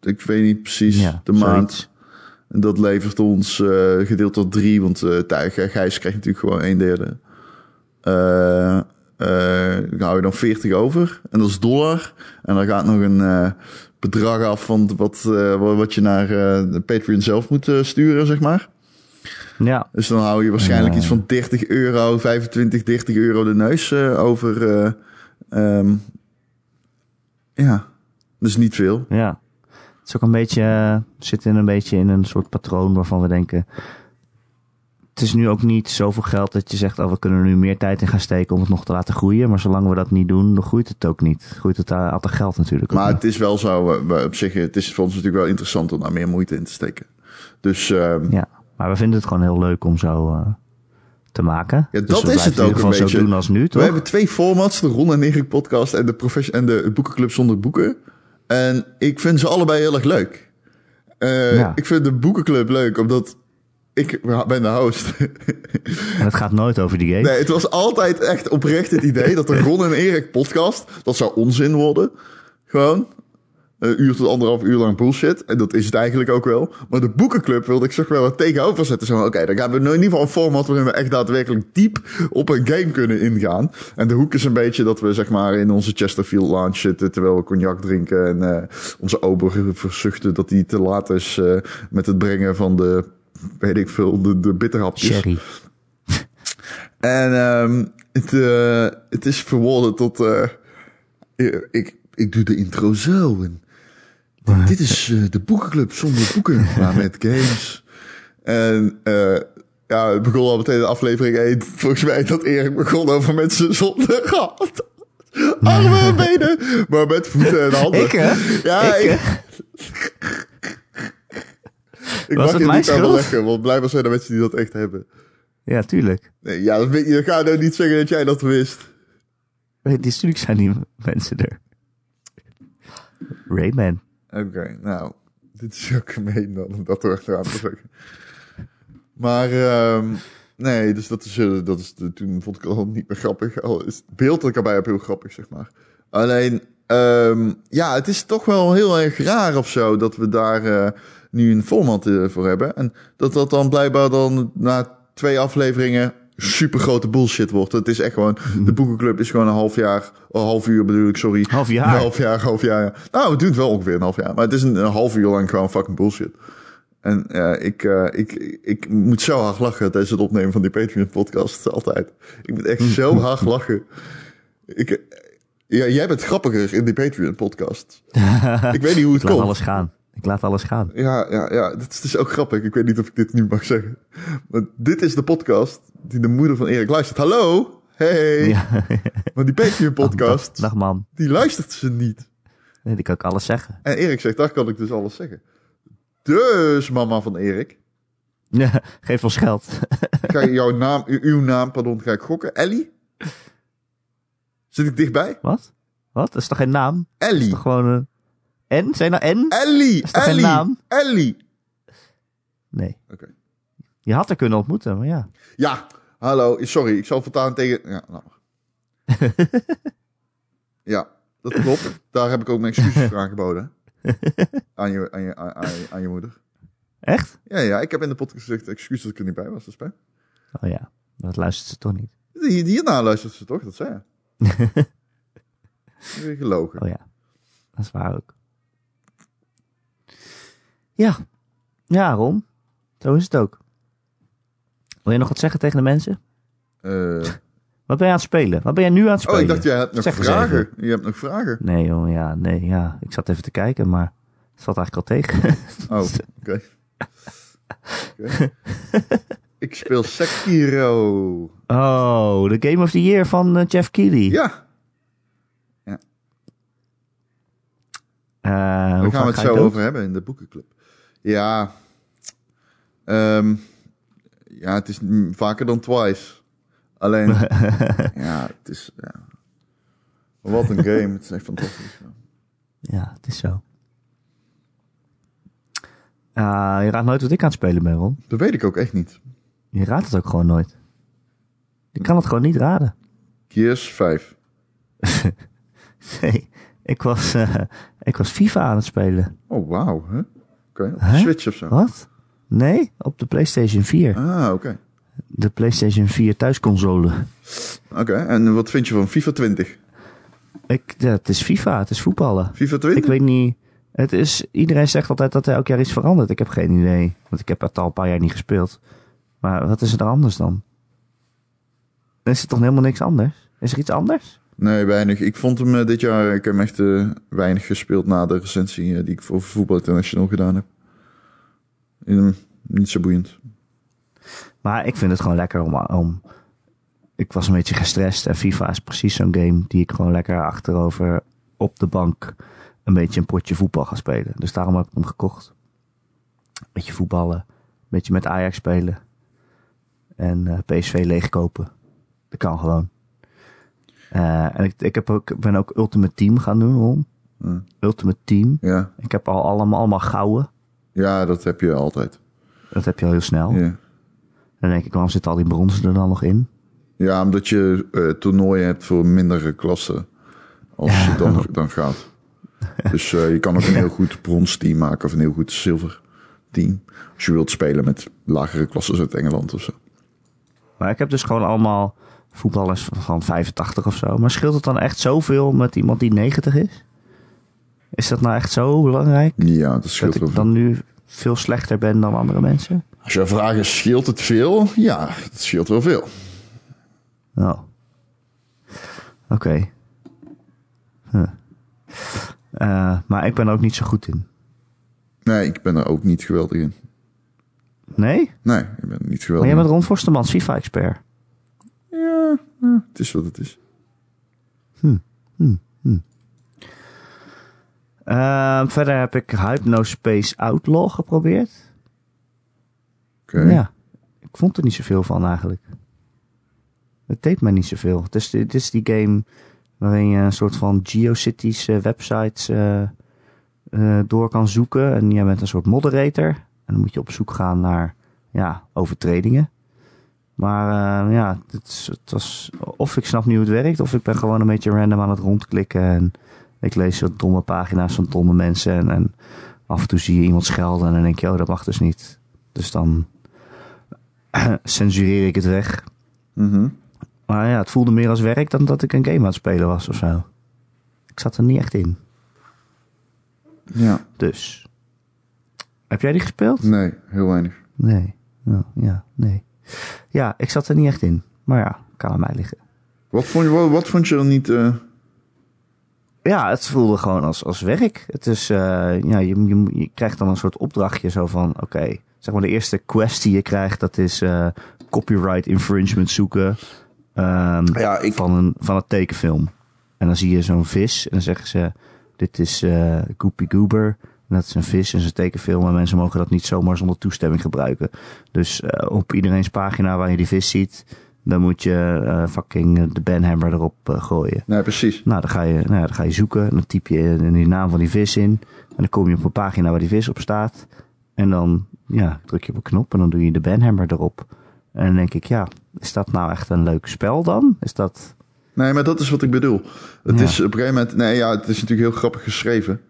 Speaker 2: Ik weet niet precies
Speaker 1: Ja,
Speaker 2: de maand.
Speaker 1: zoiets.
Speaker 2: En dat levert ons eh gedeeld door drie, want eh Thij- Gijs krijgt natuurlijk gewoon een derde. Eh, eh, dan hou je dan 40 over. En dat is dollar. En dan gaat nog een eh, bedrag af van wat, eh, wa- wat je naar eh, de Patreon zelf moet eh, sturen, zeg maar.
Speaker 1: Ja,
Speaker 2: Dus dan hou je waarschijnlijk iets van 30 euro, 25, 30 euro de neus eh, over. eh, ehm, ja, dus niet veel.
Speaker 1: ja. Het is ook een beetje, eh, we zitten een beetje in een soort patroon waarvan we denken... Het is nu ook niet zoveel geld dat je zegt, oh, we kunnen er nu meer tijd in gaan steken om het nog te laten groeien. Maar zolang we dat niet doen, dan groeit het ook niet. Groeit het eh, altijd geld natuurlijk. ook
Speaker 2: Maar
Speaker 1: niet.
Speaker 2: het is wel zo, eh, we- op zich, het is voor ons natuurlijk wel interessant om daar meer moeite in te steken. Dus ehm,
Speaker 1: Ja, maar we vinden het gewoon heel leuk om zo eh, te maken.
Speaker 2: Ja,
Speaker 1: Dus
Speaker 2: dat
Speaker 1: we blijven
Speaker 2: is het
Speaker 1: in ieder
Speaker 2: ook
Speaker 1: geval
Speaker 2: een beetje.
Speaker 1: zo doen als nu,
Speaker 2: we
Speaker 1: toch?
Speaker 2: hebben twee formats, de Ron en Erik podcast en de, profession- en de Boekenclub zonder boeken. En ik vind ze allebei heel erg leuk. Eh,
Speaker 1: Ja.
Speaker 2: Ik vind de Boekenclub leuk, omdat ik ben de host.
Speaker 1: En het gaat nooit over die game.
Speaker 2: Nee, het was altijd echt oprecht het idee dat de Ron en Erik podcast, dat zou onzin worden. Gewoon. Een uur tot anderhalf uur lang bullshit. En dat is het eigenlijk ook wel. Maar de boekenclub wilde ik zeg wel het tegenover zetten. Zo van, Oké, dan gaan we in ieder geval een format waarin we echt daadwerkelijk diep op een game kunnen ingaan. En de hoek is een beetje dat we zeg maar in onze Chesterfield lounge zitten terwijl we cognac drinken. En eh, onze ober verzuchten dat hij te laat is eh, met het brengen van de, weet ik veel, de, de bitterhapjes.
Speaker 1: Sherry.
Speaker 2: En ehm het, eh, het is verworden tot. eh, ik, ik doe de intro zo. En dit is eh, de boekenclub zonder boeken, maar met games. En eh, ja, het begon al meteen in aflevering 1. Volgens mij dat Erik begon over mensen zonder gat. Armen en benen, maar met voeten en handen.
Speaker 1: Ik, hè?
Speaker 2: Ja,
Speaker 1: Ik,
Speaker 2: ik.
Speaker 1: hè? Was
Speaker 2: ik mag
Speaker 1: dat
Speaker 2: je
Speaker 1: mijn
Speaker 2: niet
Speaker 1: schuld?
Speaker 2: overleggen, want blijkbaar zijn er mensen die dat echt hebben.
Speaker 1: Ja, tuurlijk.
Speaker 2: Nee, ja, dat, weet je, ga nou niet zeggen dat jij dat wist.
Speaker 1: Nee, die- Tuurlijk zijn die mensen er. Rayman.
Speaker 2: Oké, nou, dit is ook gemeen dan, om dat er achteraan te zeggen. Maar, ehm, nee, dus dat is, eh, dat is de- toen vond ik het al niet meer grappig. Al is het beeld dat ik erbij heb heel grappig, zeg maar. Alleen, ehm, ja, het is toch wel heel erg raar of zo dat we daar eh, nu een format eh, voor hebben. En dat dat dan blijkbaar dan na twee afleveringen super grote bullshit wordt. Het is echt gewoon,
Speaker 1: Mhm.
Speaker 2: de boekenclub is gewoon een half jaar, een half uur bedoel ik, sorry.
Speaker 1: Half jaar?
Speaker 2: Een half jaar, half jaar. ja. Nou, het duurt wel ongeveer een half jaar. Maar het is een, een half uur lang gewoon fucking bullshit. En eh, ik, eh, ik, ik moet zo hard lachen tijdens het opnemen van die Patreon-podcast. Altijd. Ik moet
Speaker 1: Mm.
Speaker 2: echt zo hard lachen. Ik, eh, ja, jij bent grappiger in die Patreon-podcast. ik weet niet hoe het
Speaker 1: Ik laat
Speaker 2: komt.
Speaker 1: alles gaan. Ik laat alles gaan.
Speaker 2: Ja, ja, ja. Dit is dus ook grappig. Ik weet niet of ik dit nu mag zeggen. Maar dit is de podcast die de moeder van Erik luistert. Hallo! Hey!
Speaker 1: Ja. Nou,
Speaker 2: Maar die Patreon-podcast,
Speaker 1: Dag, man.
Speaker 2: die luistert ze niet.
Speaker 1: Nee, die kan ik alles zeggen.
Speaker 2: En Erik zegt, daar kan ik dus alles zeggen. Dus, mama van Erik,
Speaker 1: Ja, geef ons geld.
Speaker 2: ga je jouw naam, u- uw naam, pardon, ga ik gokken. Ellie? Zit ik dichtbij?
Speaker 1: Wat? Wat? Dat is toch geen naam?
Speaker 2: Ellie.
Speaker 1: Toch gewoon een... En? Zijn nou en?
Speaker 2: Ellie!
Speaker 1: is toch geen
Speaker 2: Ellie!
Speaker 1: naam?
Speaker 2: Ellie!
Speaker 1: Nee.
Speaker 2: Oké.
Speaker 1: Je had haar kunnen ontmoeten, maar ja.
Speaker 2: Ja, hallo, sorry, ik zal voortaan tegen... Ja, nou. ja, dat klopt. Daar heb ik ook mijn excuses voor aangeboden. Aan je, aan, je, aan, aan je, aan je moeder.
Speaker 1: Echt?
Speaker 2: Ja, ja, ik heb in de podcast gezegd, excuus dat ik er niet bij was, dat is pijn.
Speaker 1: Oh ja, dat luistert ze toch niet.
Speaker 2: Hier- Hierna luistert ze toch, dat zei je. Weer gelogen.
Speaker 1: Oh ja, dat is waar ook. Ja, ja Ron, zo is het ook. Wil je nog wat zeggen tegen de mensen? Oh.
Speaker 2: Eh,
Speaker 1: Wat ben je aan het spelen? Wat ben je nu aan het spelen?
Speaker 2: oh, ik dacht, jij hebt nog
Speaker 1: Zeg eens
Speaker 2: vragen.
Speaker 1: even.
Speaker 2: Je hebt nog vragen.
Speaker 1: Nee joh, ja, nee, ja. Ik zat even te kijken, maar het zat eigenlijk al tegen.
Speaker 2: Oh, oké. Oké. ik speel Sekiro.
Speaker 1: oh, de Game of the Year van eh, Jeff Keighley.
Speaker 2: Ja,
Speaker 1: Eh,
Speaker 2: Daar
Speaker 1: hoe
Speaker 2: gaan
Speaker 1: vaak
Speaker 2: we het
Speaker 1: ga je
Speaker 2: zo
Speaker 1: dood?
Speaker 2: over hebben in de boekenclub. Ja. Ehm, ja, het is mm, vaker dan twice. Alleen, ja, het is... Ja. Wat een game. Het is echt fantastisch.
Speaker 1: Ja, het is zo. Ah, je raadt nooit wat ik aan het spelen ben, Ron.
Speaker 2: Dat weet ik ook echt niet.
Speaker 1: Je raadt het ook gewoon nooit. Je kan het gewoon niet raden.
Speaker 2: Gears 5.
Speaker 1: Nee, ik was, eh, ik was FIFA aan het spelen.
Speaker 2: Oh, wauw. hè? Oké, op de
Speaker 1: Hè?
Speaker 2: Switch of zo.
Speaker 1: Wat? Nee, op de PlayStation 4.
Speaker 2: Ah, oké.
Speaker 1: De PlayStation 4 thuisconsole.
Speaker 2: Oké, en wat vind je van FIFA 20?
Speaker 1: Ik, ja, het is FIFA, het is voetballen.
Speaker 2: FIFA
Speaker 1: Ik
Speaker 2: 20?
Speaker 1: weet niet. Het is, iedereen zegt altijd dat er elk jaar iets verandert. Ik heb geen idee. Want ik heb het al een paar jaar niet gespeeld. Maar wat is er anders dan? Is er toch helemaal niks anders? Is er iets anders?
Speaker 2: Nee, weinig. Ik vond hem eh, dit jaar... Ik heb hem echt eh, weinig gespeeld na de recensie eh, die ik voor Voetbal International gedaan heb. Mm, niet zo boeiend.
Speaker 1: Maar ik vind het gewoon lekker om, om. Ik was een beetje gestrest en FIFA is precies zo'n game die ik gewoon lekker achterover op de bank een beetje een potje voetbal ga spelen. Dus daarom heb ik hem gekocht. Beetje voetballen, een beetje met Ajax spelen en eh, PSV leegkopen. Dat kan gewoon. Eh, en ik, ik heb ook, ben ook Ultimate Team gaan doen, Ron.
Speaker 2: Hmm.
Speaker 1: Ultimate Team.
Speaker 2: Ja,
Speaker 1: Ik heb al allemaal, allemaal gouden.
Speaker 2: ja dat heb je altijd.
Speaker 1: Dat heb je al heel snel.
Speaker 2: Ja,
Speaker 1: Dan denk ik, waarom zitten al die bronzen er dan nog in?
Speaker 2: ja omdat je eh toernooien hebt voor mindere klassen. Als je dan, dan gaat. Dus eh, je kan ook een heel goed brons team maken of een heel goed zilver team. Als je wilt spelen met lagere klasses uit Engeland of zo.
Speaker 1: Maar ik heb dus gewoon allemaal voetballers van- van 85 of zo. Maar scheelt het dan echt zoveel met iemand die 90 is? Is dat nou echt zo belangrijk?
Speaker 2: Ja, dat scheelt
Speaker 1: dat
Speaker 2: wel
Speaker 1: ik
Speaker 2: veel.
Speaker 1: dan nu veel slechter ben dan andere mensen?
Speaker 2: Als je vraagt, is, scheelt het veel? Ja, het scheelt wel veel.
Speaker 1: Nou. Oké. Huh. Eh, maar ik ben er ook niet zo goed in.
Speaker 2: Nee, ik ben er ook niet geweldig in.
Speaker 1: Nee?
Speaker 2: Nee, ik ben er niet geweldig
Speaker 1: Maar jij
Speaker 2: in.
Speaker 1: bent Ron Forstemans, FIFA-expert.
Speaker 2: Ja, ja, het is wat het is.
Speaker 1: Eh, verder heb ik Hypnospace Outlaw geprobeerd.
Speaker 2: Oké.
Speaker 1: Ja. Ik vond er niet zoveel van eigenlijk. Het deed mij niet zoveel. Het is, het is die game waarin je een soort van geocities eh, websites eh, eh, door kan zoeken. En jij bent een soort moderator. En dan moet je op zoek gaan naar ja, overtredingen. Maar eh, ja, het, is- het was, of ik snap niet hoe het werkt, of ik ben gewoon een beetje random aan het rondklikken. En ik lees zo'n domme pagina's van domme mensen. En, en af en toe zie je iemand schelden en dan denk je, oh, dat mag dus niet. Dus dan censureer ik het weg.
Speaker 2: Mhm.
Speaker 1: Maar ja, het voelde meer als werk dan dat ik een game aan het spelen was of zo. Ik zat er niet echt in.
Speaker 2: Ja,
Speaker 1: Dus. Heb jij die gespeeld?
Speaker 2: nee, heel weinig.
Speaker 1: Nee. Nou, ja, nee. Ja, ik zat er niet echt in. Maar ja, kan aan mij liggen.
Speaker 2: Wat vond je, wat, wat vond je er niet... eh,
Speaker 1: Ja, het voelde gewoon als, als werk. Het is, eh, ja, je, je, je krijgt dan een soort opdrachtje zo van, oké, zeg maar de eerste quest die je krijgt, dat is eh, copyright infringement zoeken ehm,
Speaker 2: Ja, ik-
Speaker 1: van, een, van een tekenfilm. En dan zie je zo'n vis en dan zeggen ze, dit is eh Goopy Goober. En dat is een vis en dat is een tekenfilm en mensen mogen dat niet zomaar zonder toestemming gebruiken. Dus eh, op iedereen's pagina waar je die vis ziet, dan moet je eh, fucking eh, de banhammer erop eh, gooien.
Speaker 2: Nee, precies.
Speaker 1: Nou, dan ga je, nou ja, dan ga je zoeken. En dan typ je in die naam van die vis in. En dan kom je op een pagina waar die vis op staat. En dan ja, druk je op een knop en dan doe je de banhammer erop. En dan denk ik, ja, is dat nou echt een leuk spel dan? Is dat...
Speaker 2: Nee, maar dat is wat ik bedoel. Het
Speaker 1: Ja.
Speaker 2: is op een gegeven moment... Nee, ja, het is natuurlijk heel grappig geschreven.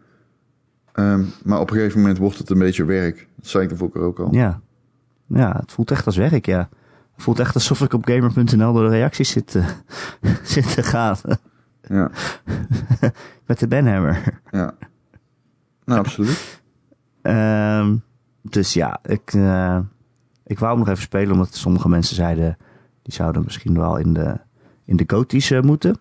Speaker 2: Ehm, maar op een gegeven moment wordt het een beetje werk. Dat zei ik de vorige keer ook al.
Speaker 1: Ja. ja, het voelt echt als werk, ja. Het voelt echt alsof ik op gamer.nl door de reacties zit te, zit te gaan.
Speaker 2: Ja,
Speaker 1: Met de banhammer.
Speaker 2: ja. Nou, absoluut.
Speaker 1: Ehm, dus ja, ik, eh, ik wou hem nog even spelen, omdat sommige mensen zeiden, die zouden misschien wel in de, in de goties eh, moeten.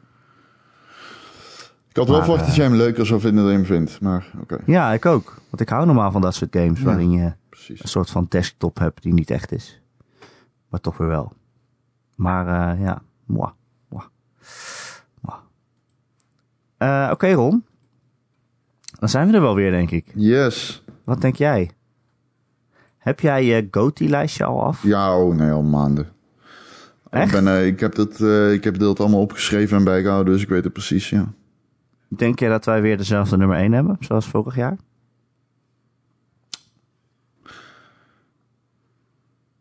Speaker 2: Ik had wel
Speaker 1: Maar, eh,
Speaker 2: verwacht dat jij hem leuker zou vinden dan je hem vindt. Maar oké,
Speaker 1: Ja, ik ook. Want ik hou normaal van dat soort games,
Speaker 2: Ja.
Speaker 1: waarin je
Speaker 2: precies.
Speaker 1: een soort van desktop hebt die niet echt is. Maar toch weer wel. Maar eh, ja, moi. moi. moi. Eh, Oké Ron, dan zijn we er wel weer denk ik.
Speaker 2: Yes.
Speaker 1: Wat denk jij? Heb jij je GOTY-lijstje al af?
Speaker 2: Ja, oh nee, al maanden.
Speaker 1: Echt?
Speaker 2: Ik, ben, eh, ik, heb dat, eh, ik heb dat allemaal opgeschreven en bijgehouden, dus ik weet het precies, ja.
Speaker 1: Denk jij dat wij weer dezelfde nummer 1 hebben, zoals vorig jaar?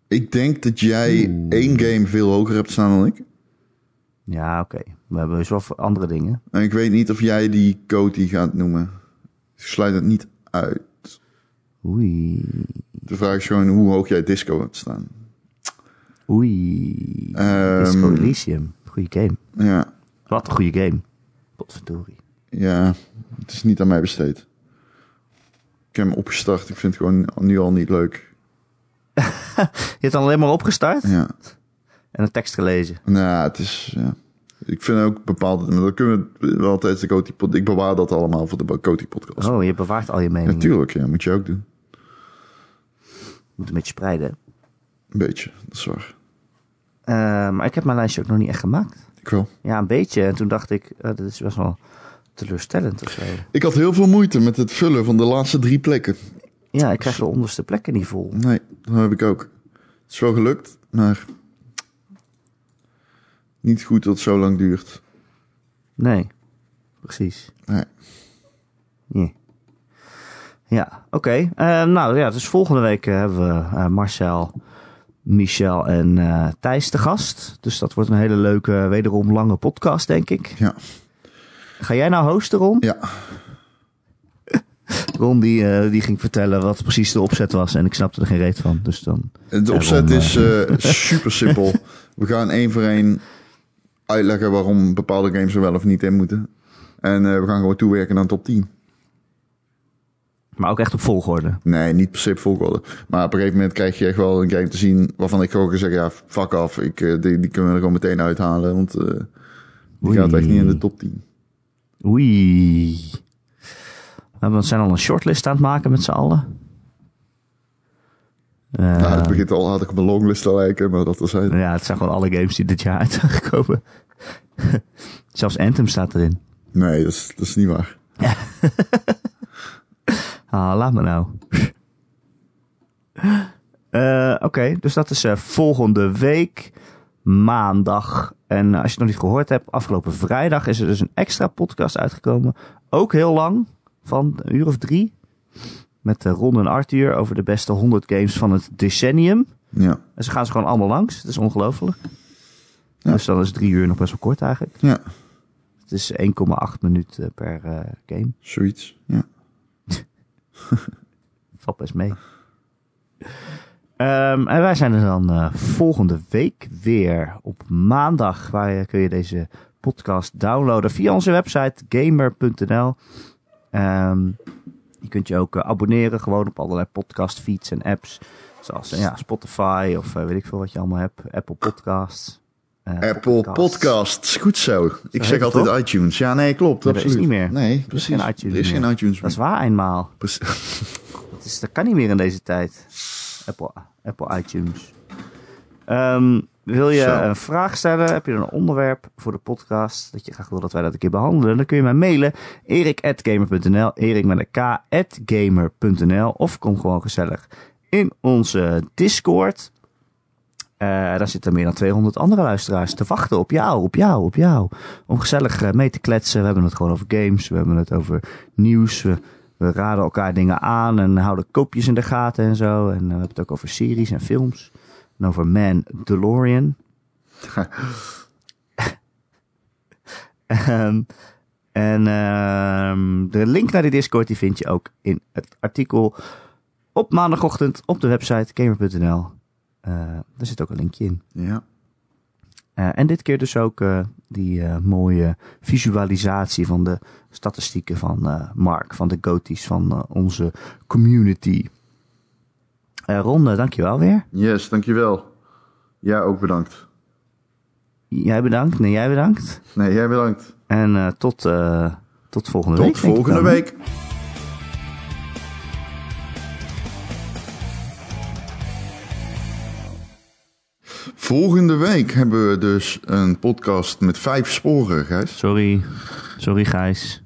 Speaker 2: Ik denk dat jij één game veel hoger hebt staan dan ik.
Speaker 1: Ja, oké. We hebben dus wel voor andere dingen.
Speaker 2: En ik weet niet of jij die Coty gaat noemen. Ik sluit het niet uit.
Speaker 1: Oei.
Speaker 2: De vraag is gewoon hoe hoog jij Disco hebt staan.
Speaker 1: Oei.
Speaker 2: Ehm.
Speaker 1: Disco Elysium. Goeie game.
Speaker 2: Ja,
Speaker 1: Wat een goede game. Potverdorie.
Speaker 2: ja. Het is niet aan mij besteed. Ik heb hem opgestart. Ik vind het gewoon nu al niet leuk.
Speaker 1: Je hebt dan alleen maar opgestart
Speaker 2: Ja.
Speaker 1: en een tekst gelezen.
Speaker 2: Nou, ja, het is... Ja. Ik vind ook bepaalde... Maar dan kunnen we het wel tijdens de Coty... pod- Ik bewaar dat allemaal voor de Coty podcast.
Speaker 1: Oh, je bewaart al je meningen.
Speaker 2: Natuurlijk, ja. Moet je ook doen.
Speaker 1: Je Moet een beetje spreiden.
Speaker 2: Een beetje. Dat is waar.
Speaker 1: Eh, maar ik heb mijn lijstje ook nog niet echt gemaakt.
Speaker 2: Ik wel.
Speaker 1: Ja, een beetje. En toen dacht ik, eh, dat is best wel teleurstellend of zo.
Speaker 2: Ik had heel veel moeite met het vullen van de laatste drie plekken.
Speaker 1: Ja, ik krijg de onderste plekken niet vol.
Speaker 2: Nee, dat heb ik ook. Het is wel gelukt, maar niet goed dat het zo lang duurt.
Speaker 1: Nee, precies.
Speaker 2: Nee.
Speaker 1: Ja, ja oké. Eh, nou ja, dus volgende week eh, hebben we eh, Marcel, Michel en eh, Thijs te gast. Dus dat wordt een hele leuke, wederom lange podcast, denk ik.
Speaker 2: Ja,
Speaker 1: Ga jij nou hosten, Ron?
Speaker 2: ja.
Speaker 1: Ron die, eh, die ging vertellen wat precies de opzet was. En ik snapte er geen reet van. Dus dan...
Speaker 2: De
Speaker 1: Daarom,
Speaker 2: opzet is
Speaker 1: eh,
Speaker 2: eh, super simpel. We gaan één voor één uitleggen waarom bepaalde games er wel of niet in moeten. En eh, we gaan gewoon toewerken aan top 10.
Speaker 1: Maar ook echt op volgorde.
Speaker 2: Nee, niet per se op volgorde. Maar op een gegeven moment krijg je echt wel een game te zien waarvan ik gewoon kan zeggen, ja, fuck af. Ik, eh, die, die kunnen we er gewoon meteen uithalen, want eh, die
Speaker 1: Oei.
Speaker 2: gaat echt niet in de top 10.
Speaker 1: Oei. We zijn al een shortlist aan het maken met z'n allen. Eh,
Speaker 2: Nou, het begint al, had ik op een longlist te lijken, maar dat was het.
Speaker 1: ja, het zijn gewoon alle games die dit jaar uit zijn gekomen. Zelfs Anthem staat erin.
Speaker 2: Nee, dat is, dat is niet waar.
Speaker 1: Ah, laat me nou. Eh, Oké, dus dat is eh, volgende week, maandag. En eh, als je het nog niet gehoord hebt, afgelopen vrijdag is er dus een extra podcast uitgekomen. Ook heel lang, van een uur of drie. Met eh, Ron en Arthur over de beste 100 games van het decennium.
Speaker 2: Ja,
Speaker 1: En ze gaan ze gewoon allemaal langs. Het is ongelooflijk.
Speaker 2: Ja.
Speaker 1: Dus dan is drie uur nog best wel kort eigenlijk.
Speaker 2: ja,
Speaker 1: Het is 1,8 minuten per eh, game.
Speaker 2: zoiets. Ja.
Speaker 1: Valt best mee. Ehm, en wij zijn er dan eh, volgende week weer op maandag. Waar je- kun je deze podcast downloaden via onze website gamer.nl. Ehm, je kunt je ook eh, abonneren gewoon op allerlei podcast feeds en apps. Zoals eh, ja, Spotify of eh, weet ik veel wat je allemaal hebt. Apple Podcasts. eh,
Speaker 2: Apple Podcasts, goed zo. Ik zeg
Speaker 1: het,
Speaker 2: altijd
Speaker 1: toch?
Speaker 2: iTunes. Ja, nee, klopt.
Speaker 1: Nee, dat
Speaker 2: absoluut.
Speaker 1: is niet meer.
Speaker 2: Nee, precies.
Speaker 1: geen iTunes
Speaker 2: Er is
Speaker 1: meer.
Speaker 2: geen iTunes
Speaker 1: Dat is
Speaker 2: meer.
Speaker 1: waar eenmaal.
Speaker 2: Precies.
Speaker 1: Dat, is, dat kan niet meer in deze tijd. Apple, Apple iTunes. Ehm, wil je
Speaker 2: Zo.
Speaker 1: een vraag stellen? Heb je een onderwerp voor de podcast dat je graag wil dat wij dat een keer behandelen? Dan kun je mij mailen erik.gamer.nl erik met een k at gamer.nl of kom gewoon gezellig in onze Discord. Eh, daar zitten meer dan 200 andere luisteraars te wachten op jou, op jou, op jou. Om gezellig eh, mee te kletsen. We hebben het gewoon over games, we hebben het over nieuws. We, we raden elkaar dingen aan en houden koopjes in de gaten en zo. En eh, we hebben het ook over series en films. En over Man DeLorean. Ehm, en ehm, de link naar de Discord die vind je ook in het artikel op maandagochtend op de website gamer.nl. Eh, daar zit ook een linkje in.
Speaker 2: Ja.
Speaker 1: Eh, en dit keer dus ook eh, die eh, mooie visualisatie van de statistieken van eh, Mark, van de goties van eh, onze community. Eh Ronde, dankjewel weer.
Speaker 2: Yes, dankjewel. Ja, ook bedankt.
Speaker 1: Jij bedankt. Nee, jij bedankt.
Speaker 2: Nee, jij bedankt.
Speaker 1: En eh, tot, eh, tot volgende week.
Speaker 2: Tot
Speaker 1: denk ik
Speaker 2: volgende
Speaker 1: dan, hè?
Speaker 2: week. Volgende week hebben we dus een podcast met vijf sporen, Gijs.
Speaker 1: Sorry. Sorry, Gijs.